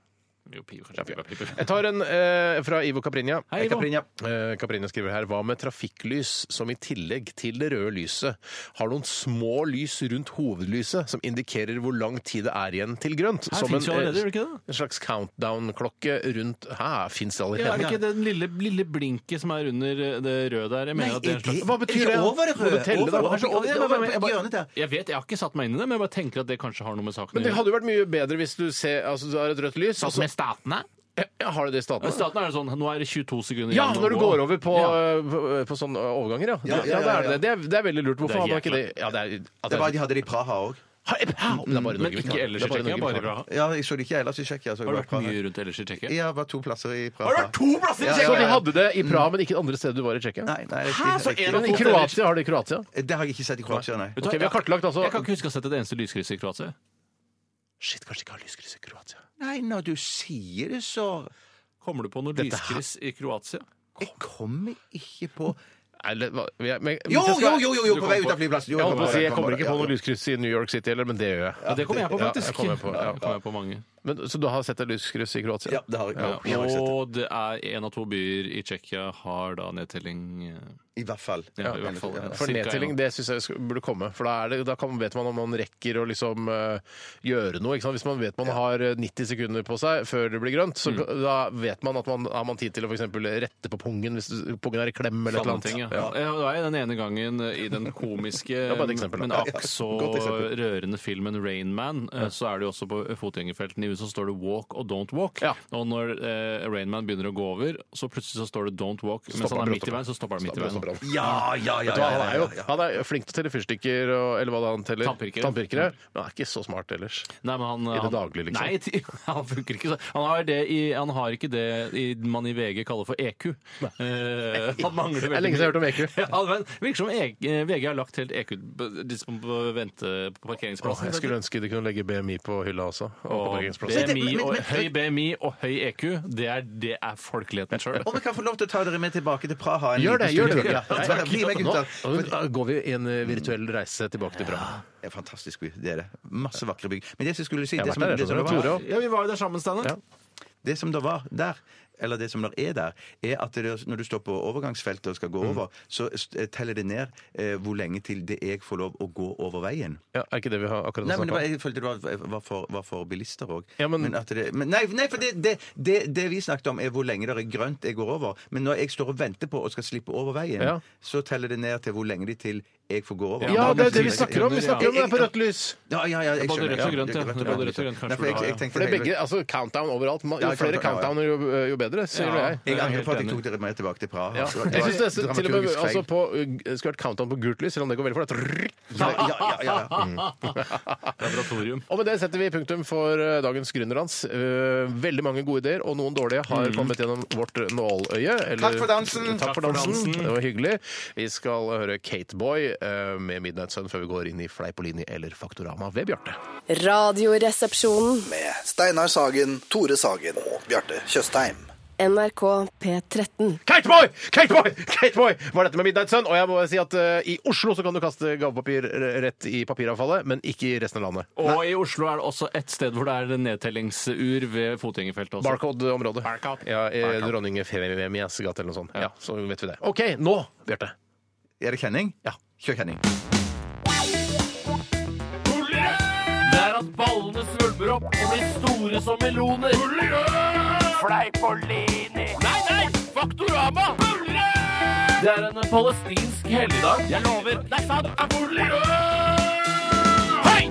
Jo, pipe, kanskje. pipe er [laughs] pipe. Jeg tar en eh, fra Ivo Caprinja. Hei, Ivo. Kaprinja. Eh, Caprinja skriver her Hva med trafikklys som i tillegg til det røde lyset har noen små lys rundt hovedlyset som indikerer hvor lang tid det er igjen til grønt? Her Som finnes jo en, eh, allerede, gjør det ikke det? En slags countdown-klokke rundt Hæ, fins det Ja, allerede? er det ikke den lille, lille blinket som er under eh, det røde der? Jeg mener at det er en slags... Hva betyr det? Over det Må du telle, da? røde. Over, over, over, Nei, nei, over, nei, over, jeg på bare- hjørnet der. Jeg vet, jeg har ikke satt meg inn i det, men jeg bare tenker at det kanskje har noe med saken Men å det gjøre. hadde jo vært mye bedre hvis du ser altså, du har et rødt lys og Satt så med statene? Ja, Har du det i Ja, statene? Staten er det sånn, nå er det 22 sekunder Ja, igjen å når du gå. går over på, Ja. øh, på, på sånne overganger, ja. Ja, ja, det, ja, er det. ja. Det, er, det er veldig lurt. Det er Hvorfor hadde man ikke det? helt Ja, det er, at Det er bare de hadde det i Praha òg. Hei, pow! Det er bare i Men Norge vi ikke kan. ellers Det er bare i i Tsjekkia, Norge vi bare kan. bra. Ja, jeg så det ikke ellers i Tsjekkia. så jeg Har det bare vært Praha. mye rundt ellers i Tsjekkia? Ja, bare to plasser i Praha. Har det vært to plasser i Så de hadde Altså, det i Praha, men ikke andre steder du var i Tsjekkia? Nei, nei, Hæ, så riktig, en av Men to i riktig. Kroatia har de i Kroatia. Det har jeg ikke sett i Kroatia, nei. Vet du hva, Ok, Vi har kartlagt altså Jeg kan ikke huske å ha sett et eneste lyskryss i Kroatia. Shit, kanskje ikke har lyskryss i Kroatia. Nei, når du sier det, så Kommer du på noe Dette her- lyskryss i Kroatia? Jeg kommer ikke på Eller, hva, jeg, men, Jo, hvis jeg jo, skal- jo, jo, jo på vei ut av flyplassen. Jo, Jeg holdt på å si, jeg kom kommer ikke på noe ja. lyskryss i New York City heller, men det gjør jeg. Ja, det kommer jeg på, Ja, faktisk. jeg kommer på, ja. Det kommer jeg på mange. Men, så du har sett et lyskryss i Kroatia? Ja, det har jeg. Ja, jeg har ikke sett det. Og det er en av to byer i Tsjekkia har da nedtelling eh, I hvert fall. Ja, i hvert fall. Ja. For Cirka nedtelling, en. det syns jeg sk- burde komme. For da, er det, da kan, vet man om man rekker å liksom eh, gjøre noe. Ikke sant? Hvis man vet man har eh, 90 sekunder på seg før det blir grønt, Mm. så da vet man at man har man tid til å for eksempel rette på pungen hvis du- pungen er i klem eller et eller Sånne annet. ting, ja. Ja. Det var jo den ene gangen eh, i den komiske, bare et eksempel, da. men [laughs] Ja, akk så Godt eksempel. rørende filmen Rain Man, eh, så er det jo også på fotgjengerfeltene i USA står det walk og don't walk. Ja. Og når eh, Rain Man begynner å gå over, så plutselig så står det don't walk. Mens Stopper han han er brått midt i opp. veien, så stopper han midt i veien. Ja, ja, ja. Vet du hva, ja, han ja, er jo ja, ja. han er flink til å telle fyrstikker og eller hva det er han teller. Tannpirkere. Mm. Men han er ikke så smart ellers. Nei, men han, I det han- daglige, liksom. Nei, [laughs] ti- han funker ikke så. Han har, det i, han har ikke det i, man i VG kaller for EQ. [laughs] Eh, han mangler Det veldig er lenge siden jeg har hørt om E mye. EQ. [laughs] Ja, men virker som EG, eh, VG har lagt helt EQ på- de som på vente på Åh, parkeringsplassen. jeg skulle ønske de kunne legge BMI på hylla også. Og på og parkeringsplassen. BMI Men- men- og men- høy BMI og høy EQ, det er, det er folkeligheten sjøl. Om jeg kan få lov til å ta dere med tilbake til Praha en Gjør det! liten gjør stund det. til. Ja. Ja, bli med, Nå gutter. For nå går vi en eh, virtuell reise tilbake til Praha. det er en fantastisk by. Det er det. Masse vakre bygg. Men det som skulle si Jeg har det vært der, som, det, som jeg det, skjønner. Tore var, også. Ja, vi var jo der sammen, Steinar. Ja. det som det var der, eller det som det er der, er at det, når du står på overgangsfeltet og skal Mm. gå over, så eh, teller det ned eh, hvor lenge til det jeg får lov å gå over veien. Ja, er ikke det vi har akkurat Nei, men det snakket var, om? jeg følte det var, var, for, var for bilister òg. Ja, men- men nei, nei, for det, det, det, det vi snakket om, er hvor lenge det er grønt jeg går over. Men når jeg står og venter på og skal slippe over veien, Ja. så teller det ned til hvor lenge de til jeg får gå over. Ja, det er det vi vi snakker om! Vi snakker om det er på rødt lys! Ja, ja, ja, jeg Både skjønner. rødt og grønt, Ja, ja. og Både rødt og grønt, kanskje Nei, for jeg, du har, jeg, ja. tenkte For det er hele- begge, altså Countdown overalt. Man- Ja, Jo jeg flere kan ta- ja, ja. countdowner, jo, eh, jo bedre, sier Ja. jeg. Jeg angrer helt på at jeg enig. tok dere med tilbake til Praha. Ja. Det var- det Jeg var synes det et er til og med dramaturgisk feil. altså på, uh, Skulle vært countdown på gult lys, selv om det går veldig fort. Ja, ja, ja, ja. [laughs] Laboratorium. Og med det setter vi punktum for uh, dagens Gründerlands. Uh, Veldig mange gode ideer, og noen dårlige har kommet gjennom vårt nåløye. eller- Takk for dansen. Takk for dansen. Det var hyggelig. Vi skal høre Kateboy eh, med Midnight Sun før vi går inn i Fleipolini eller Faktorama ved Bjarte. Radioresepsjonen. Med Steinar Sagen, Tore Sagen og Bjarte Tjøstheim. NRK P13. Kateboy! Kateboy! Kateboy! Var dette med Midnight Sun? Og jeg må si at eh, i Oslo så kan du kaste gavepapir eh, rett i papiravfallet, men ikke i resten av landet. Og i Oslo er det også et sted hvor det er nedtellingsur ved fotgjengerfeltet også. Barcode-området. Barcode. Ja, eh, Dronning Femias gate eller noe sånt. Ja, så vet vi det. OK, nå, Bjarte. Er det kjenning? Ja. Kjør kjenning. Det er at ballene svulmer opp og blir store som meloner. Fleipolini. Nei, nei! Faktorama! Det er en palestinsk helligdag. Jeg lover. Det er sant. Hei!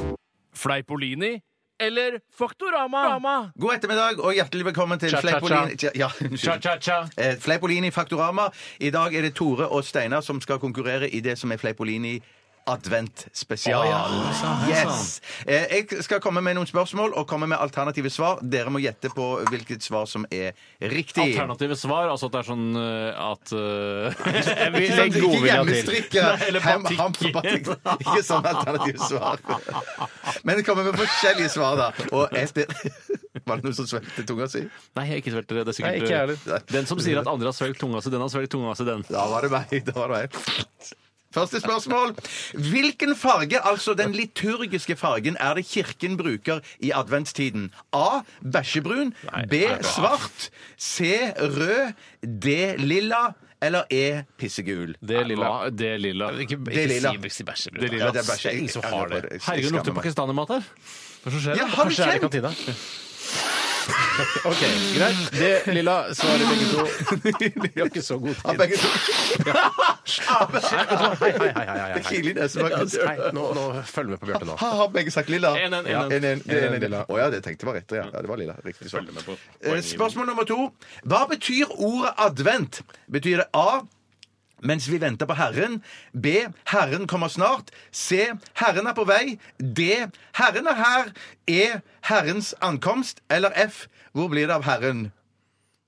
Fleipolini eller Faktorama? God ettermiddag og hjertelig velkommen til Cha-cha-cha. Fleipolini Ja, unnskyld. Cha-cha-cha. Eh, Fleipolini Faktorama. I dag er det Tore og Steinar som skal konkurrere i det som er Fleipolini Advent spesial. yes. Eh, Jeg skal komme med noen spørsmål og komme med alternative svar. Dere må gjette på hvilket svar som er riktig. Alternative svar, altså at det er sånn eh, at eh, [laughs] Jeg vil Sånn, legge ikke godvilja til. hjemmestrikke hem, ham på batikk. Ikke sånn alternativt svar. Men det kommer med forskjellige svar, da. Og et [laughs] Var det noe som svelgte tunga si? Nei, jeg har ikke svelget det. det er sikkert, Nei, ikke jeg heller. eh, Den som sier at andre har svelget tunga si, den har svelget tunga si, den. Da var det meg. Da var det meg. Første spørsmål. Hvilken farge, altså den liturgiske fargen, er det kirken bruker i adventstiden? A. Bæsjebrun. B. Svart. C. Rød. D. Lilla. Eller E. Pissegul. Det er lilla. Det er lilla. Ikke, Det er lilla. ikke si- si bæsjebrun. Det er lilla. Ja, Ja, det er bæsje. Ingen som har det. Herregud, det lukter pakistanermat her. Hva er det som skjer? Ja, har Kanskje du det er i kjent? kantina. OK, greit. Det lilla svarer begge to. Vi har ikke så god Ja, tid. begge [laughs] to. Hei, hei, hei, hei, hei, Det hei. kiler i nesen. faktisk. Nei, nå, nå følg med på Bjarte nå. Har har begge sagt lilla? En, en, en, Ja, en. en, en, det er en, en, lilla. Å ja, det tenkte jeg var rett. Ja. ja, det var lilla. Riktig svar. Eh, Spørsmål nummer to. Hva betyr ordet advent? Betyr det A mens vi venter på Herren. B. Herren kommer snart. C. Herren er på vei. D. Herren er her. E. Herrens ankomst. Eller F. Hvor blir det av Herren?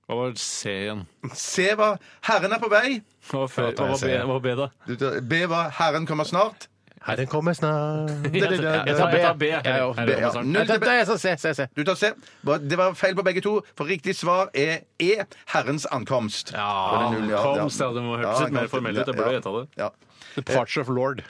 Hva var C igjen? C var Herren er på vei. Hva var, før, hva var, B, hva var B, da? B var Herren kommer snart. Herren kommer snart Jeg tar- jeg tar- jeg tar B. Jeg òg. Herren B, kommer ja. snart. Nei, det- det er jeg som ser, ser, ser. Du tar C. Det var feil på begge to, for riktig svar er E. Herrens ankomst. Ja, Og det er null, ja, ankomst, ja, det må hørtes litt mer ankomst, formell ut, jeg burde gjette det. Ja. The Parts of Lord.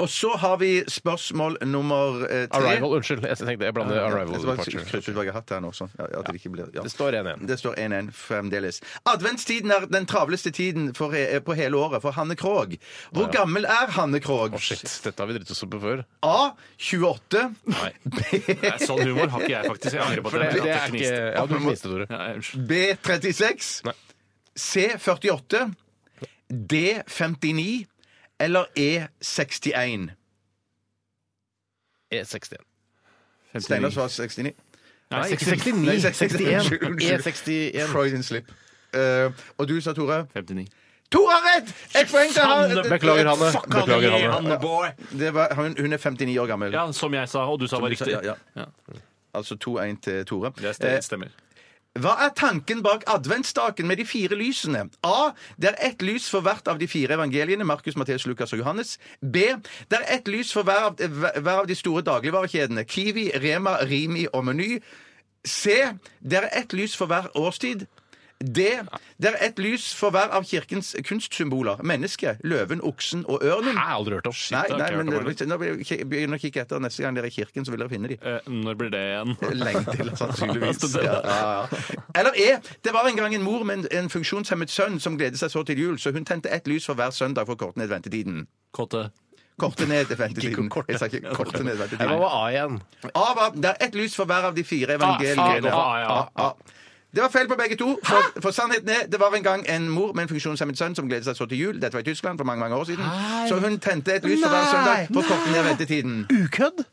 Og så har vi spørsmål nummer eh, tre. Arrival, unnskyld. Jeg tenkte jeg blander Arrival Jeg og skal The bare Parts. krysse ut hva jeg har hatt her nå. Sånn. Ja, at det, ikke blir, ja. Det står 1-1. Det står 1-1 fremdeles. Adventstiden er den travleste tiden for, he- på hele året for Hanne Krogh. Hvor gammel er Hanne Krogh? Shit, dette har vi dritt oss opp på før. A. 28. [laughs] Nei. Nei, Sånn humor har ikke jeg, faktisk. Jeg angrer på For at det, jeg det er jeg ikke kniste. Ja, du kniste, Tore. Ja, unnskyld. B. 36. Nei. C. 48. D. 59. Eller E. 61. E61. Steinar svarer 69. Nei, E Nei, ikke 69. 69. Nei, 61. 61. E61. Freudian slip. Eh, og du sa Tore? 59. Tore har rett! Et poeng til han! Sanne, beklager, Hanne. Fuck, Beklager, Hey, Hanne. Hanne boy. Det var, hun hun er 59 år gammel. Ja, som jeg sa, og du sa var du sa, riktig. ja, Ja. Altså 2-1 til Tore. Det Eh, stemmer, stemmer. Hva er tanken bak adventsstaken med de fire lysene? A. Det er ett lys for hvert av de fire evangeliene, Markus, Matteus, Lukas og Johannes. B. Det er ett lys for hver av, hver av de store dagligvarekjedene, Kiwi, Rema, Rimi og Meny. C. Det er ett lys for hver årstid. D. Det er ett lys for hver av kirkens kunstsymboler, mennesket, løven, oksen og ørnen. Jeg har aldri hørt om. Nei, det har nei ikke jeg men hørt om hvis- nå begynner å kikke etter. Neste gang dere er i kirken, så vil dere finne de. Eh, når blir det igjen? Lenge til, sannsynligvis. [laughs] Ja, Ja, ja, ja. Eller E. Det var en gang en mor med en, en funksjonshemmet sønn som gledet seg så til jul, så hun tente ett lys for hver søndag for å korte ned ventetiden. Kåte. Korte ned ventetiden. Jeg sa ikke korte ned Hva ventetiden. var A igjen? A var, det er ett lys for hver av de fire Ah, faen, evangeliene. ah, ja. Ah, ah. Det var feil på begge to. For, for sannheten er, det var en gang en mor med en funksjonshemmet sønn som gledet seg så til jul. Dette var i Tyskland for mange mange år siden. Så hun tente et lys for hver søndag for å korte ned ventetiden. Ukødd?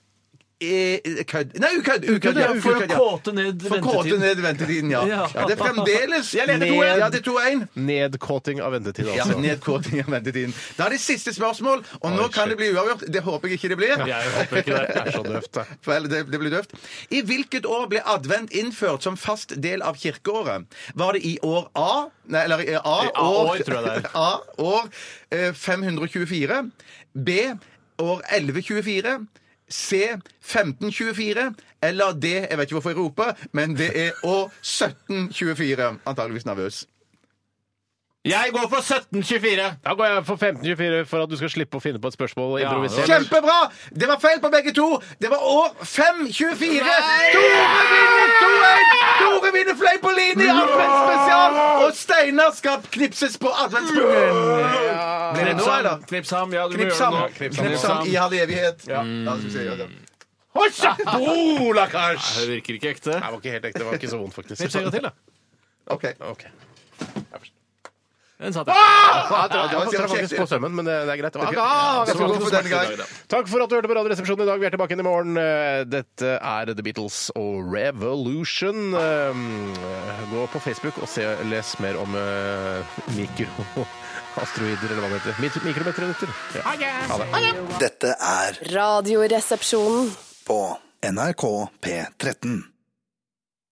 eh, kødd Nei, ukødd! ukødd ja, For å ukødd, ja. kåte ned For å kåte ventetiden. ned ventetiden, [laughs] ja. Ja. ja. Det er fremdeles Jeg leder Ned. 2-1. Ja, det er 2-1. Nedkåting av ventetid, Ja, altså. nedkorting av ventetiden. Da er det siste spørsmål, og nå kan det bli uavgjort. Det håper jeg ikke det blir. Jeg håper ikke det. sånn. Det er så døvt, det. For ellers- det, det blir døvt. I hvilket år ble advent innført som fast del av kirkeåret? Var det i år A Nei, eller i A, I A- år, tror jeg det er. [laughs] A år eh, 524. B år 1124. C 1524. Eller D Jeg vet ikke hvorfor jeg roper, men det er år 1724. Antageligvis nervøs. Jeg går for 1724! Da går jeg for 1524 for at du skal slippe å finne på et spørsmål og Ja, improvisere. det Kjempebra! Det var feil på begge to. Det var år 524. Tore vinner 2-1! Tore vinner Fleipolini i adventsspesial! Og Steinar skal knipses på adventspungen. Blir det nå, eller? Knips ham. Ja, du må Knips gjøre ham. det nå. Knips ham i all evighet. Ja, da skal vi se, ja, ja. Oh, lakkars! Det virker ikke ekte. Det var ikke helt ekte. Det var ikke så vondt, faktisk. Knips en gang til, da. Ok. Ok. Den satt jeg. Ja, det var- det var jeg traff kjekt, faktisk det. på sømmen, men eh, det det er greit. Det var- Ja, vi Så var skal det gå ikke for noe den gang. Takk for at du hørte på Radioresepsjonen i dag. Vi er tilbake igjen i morgen. Eh, Dette er The Beatles og Revolution. Eh, Gå på Facebook og se, les mer om eh, [laughs] mikroasteroider, eller hva det heter. Mit- Mikrometeoritter. Ja. Dette er Radioresepsjonen. på NRK P13.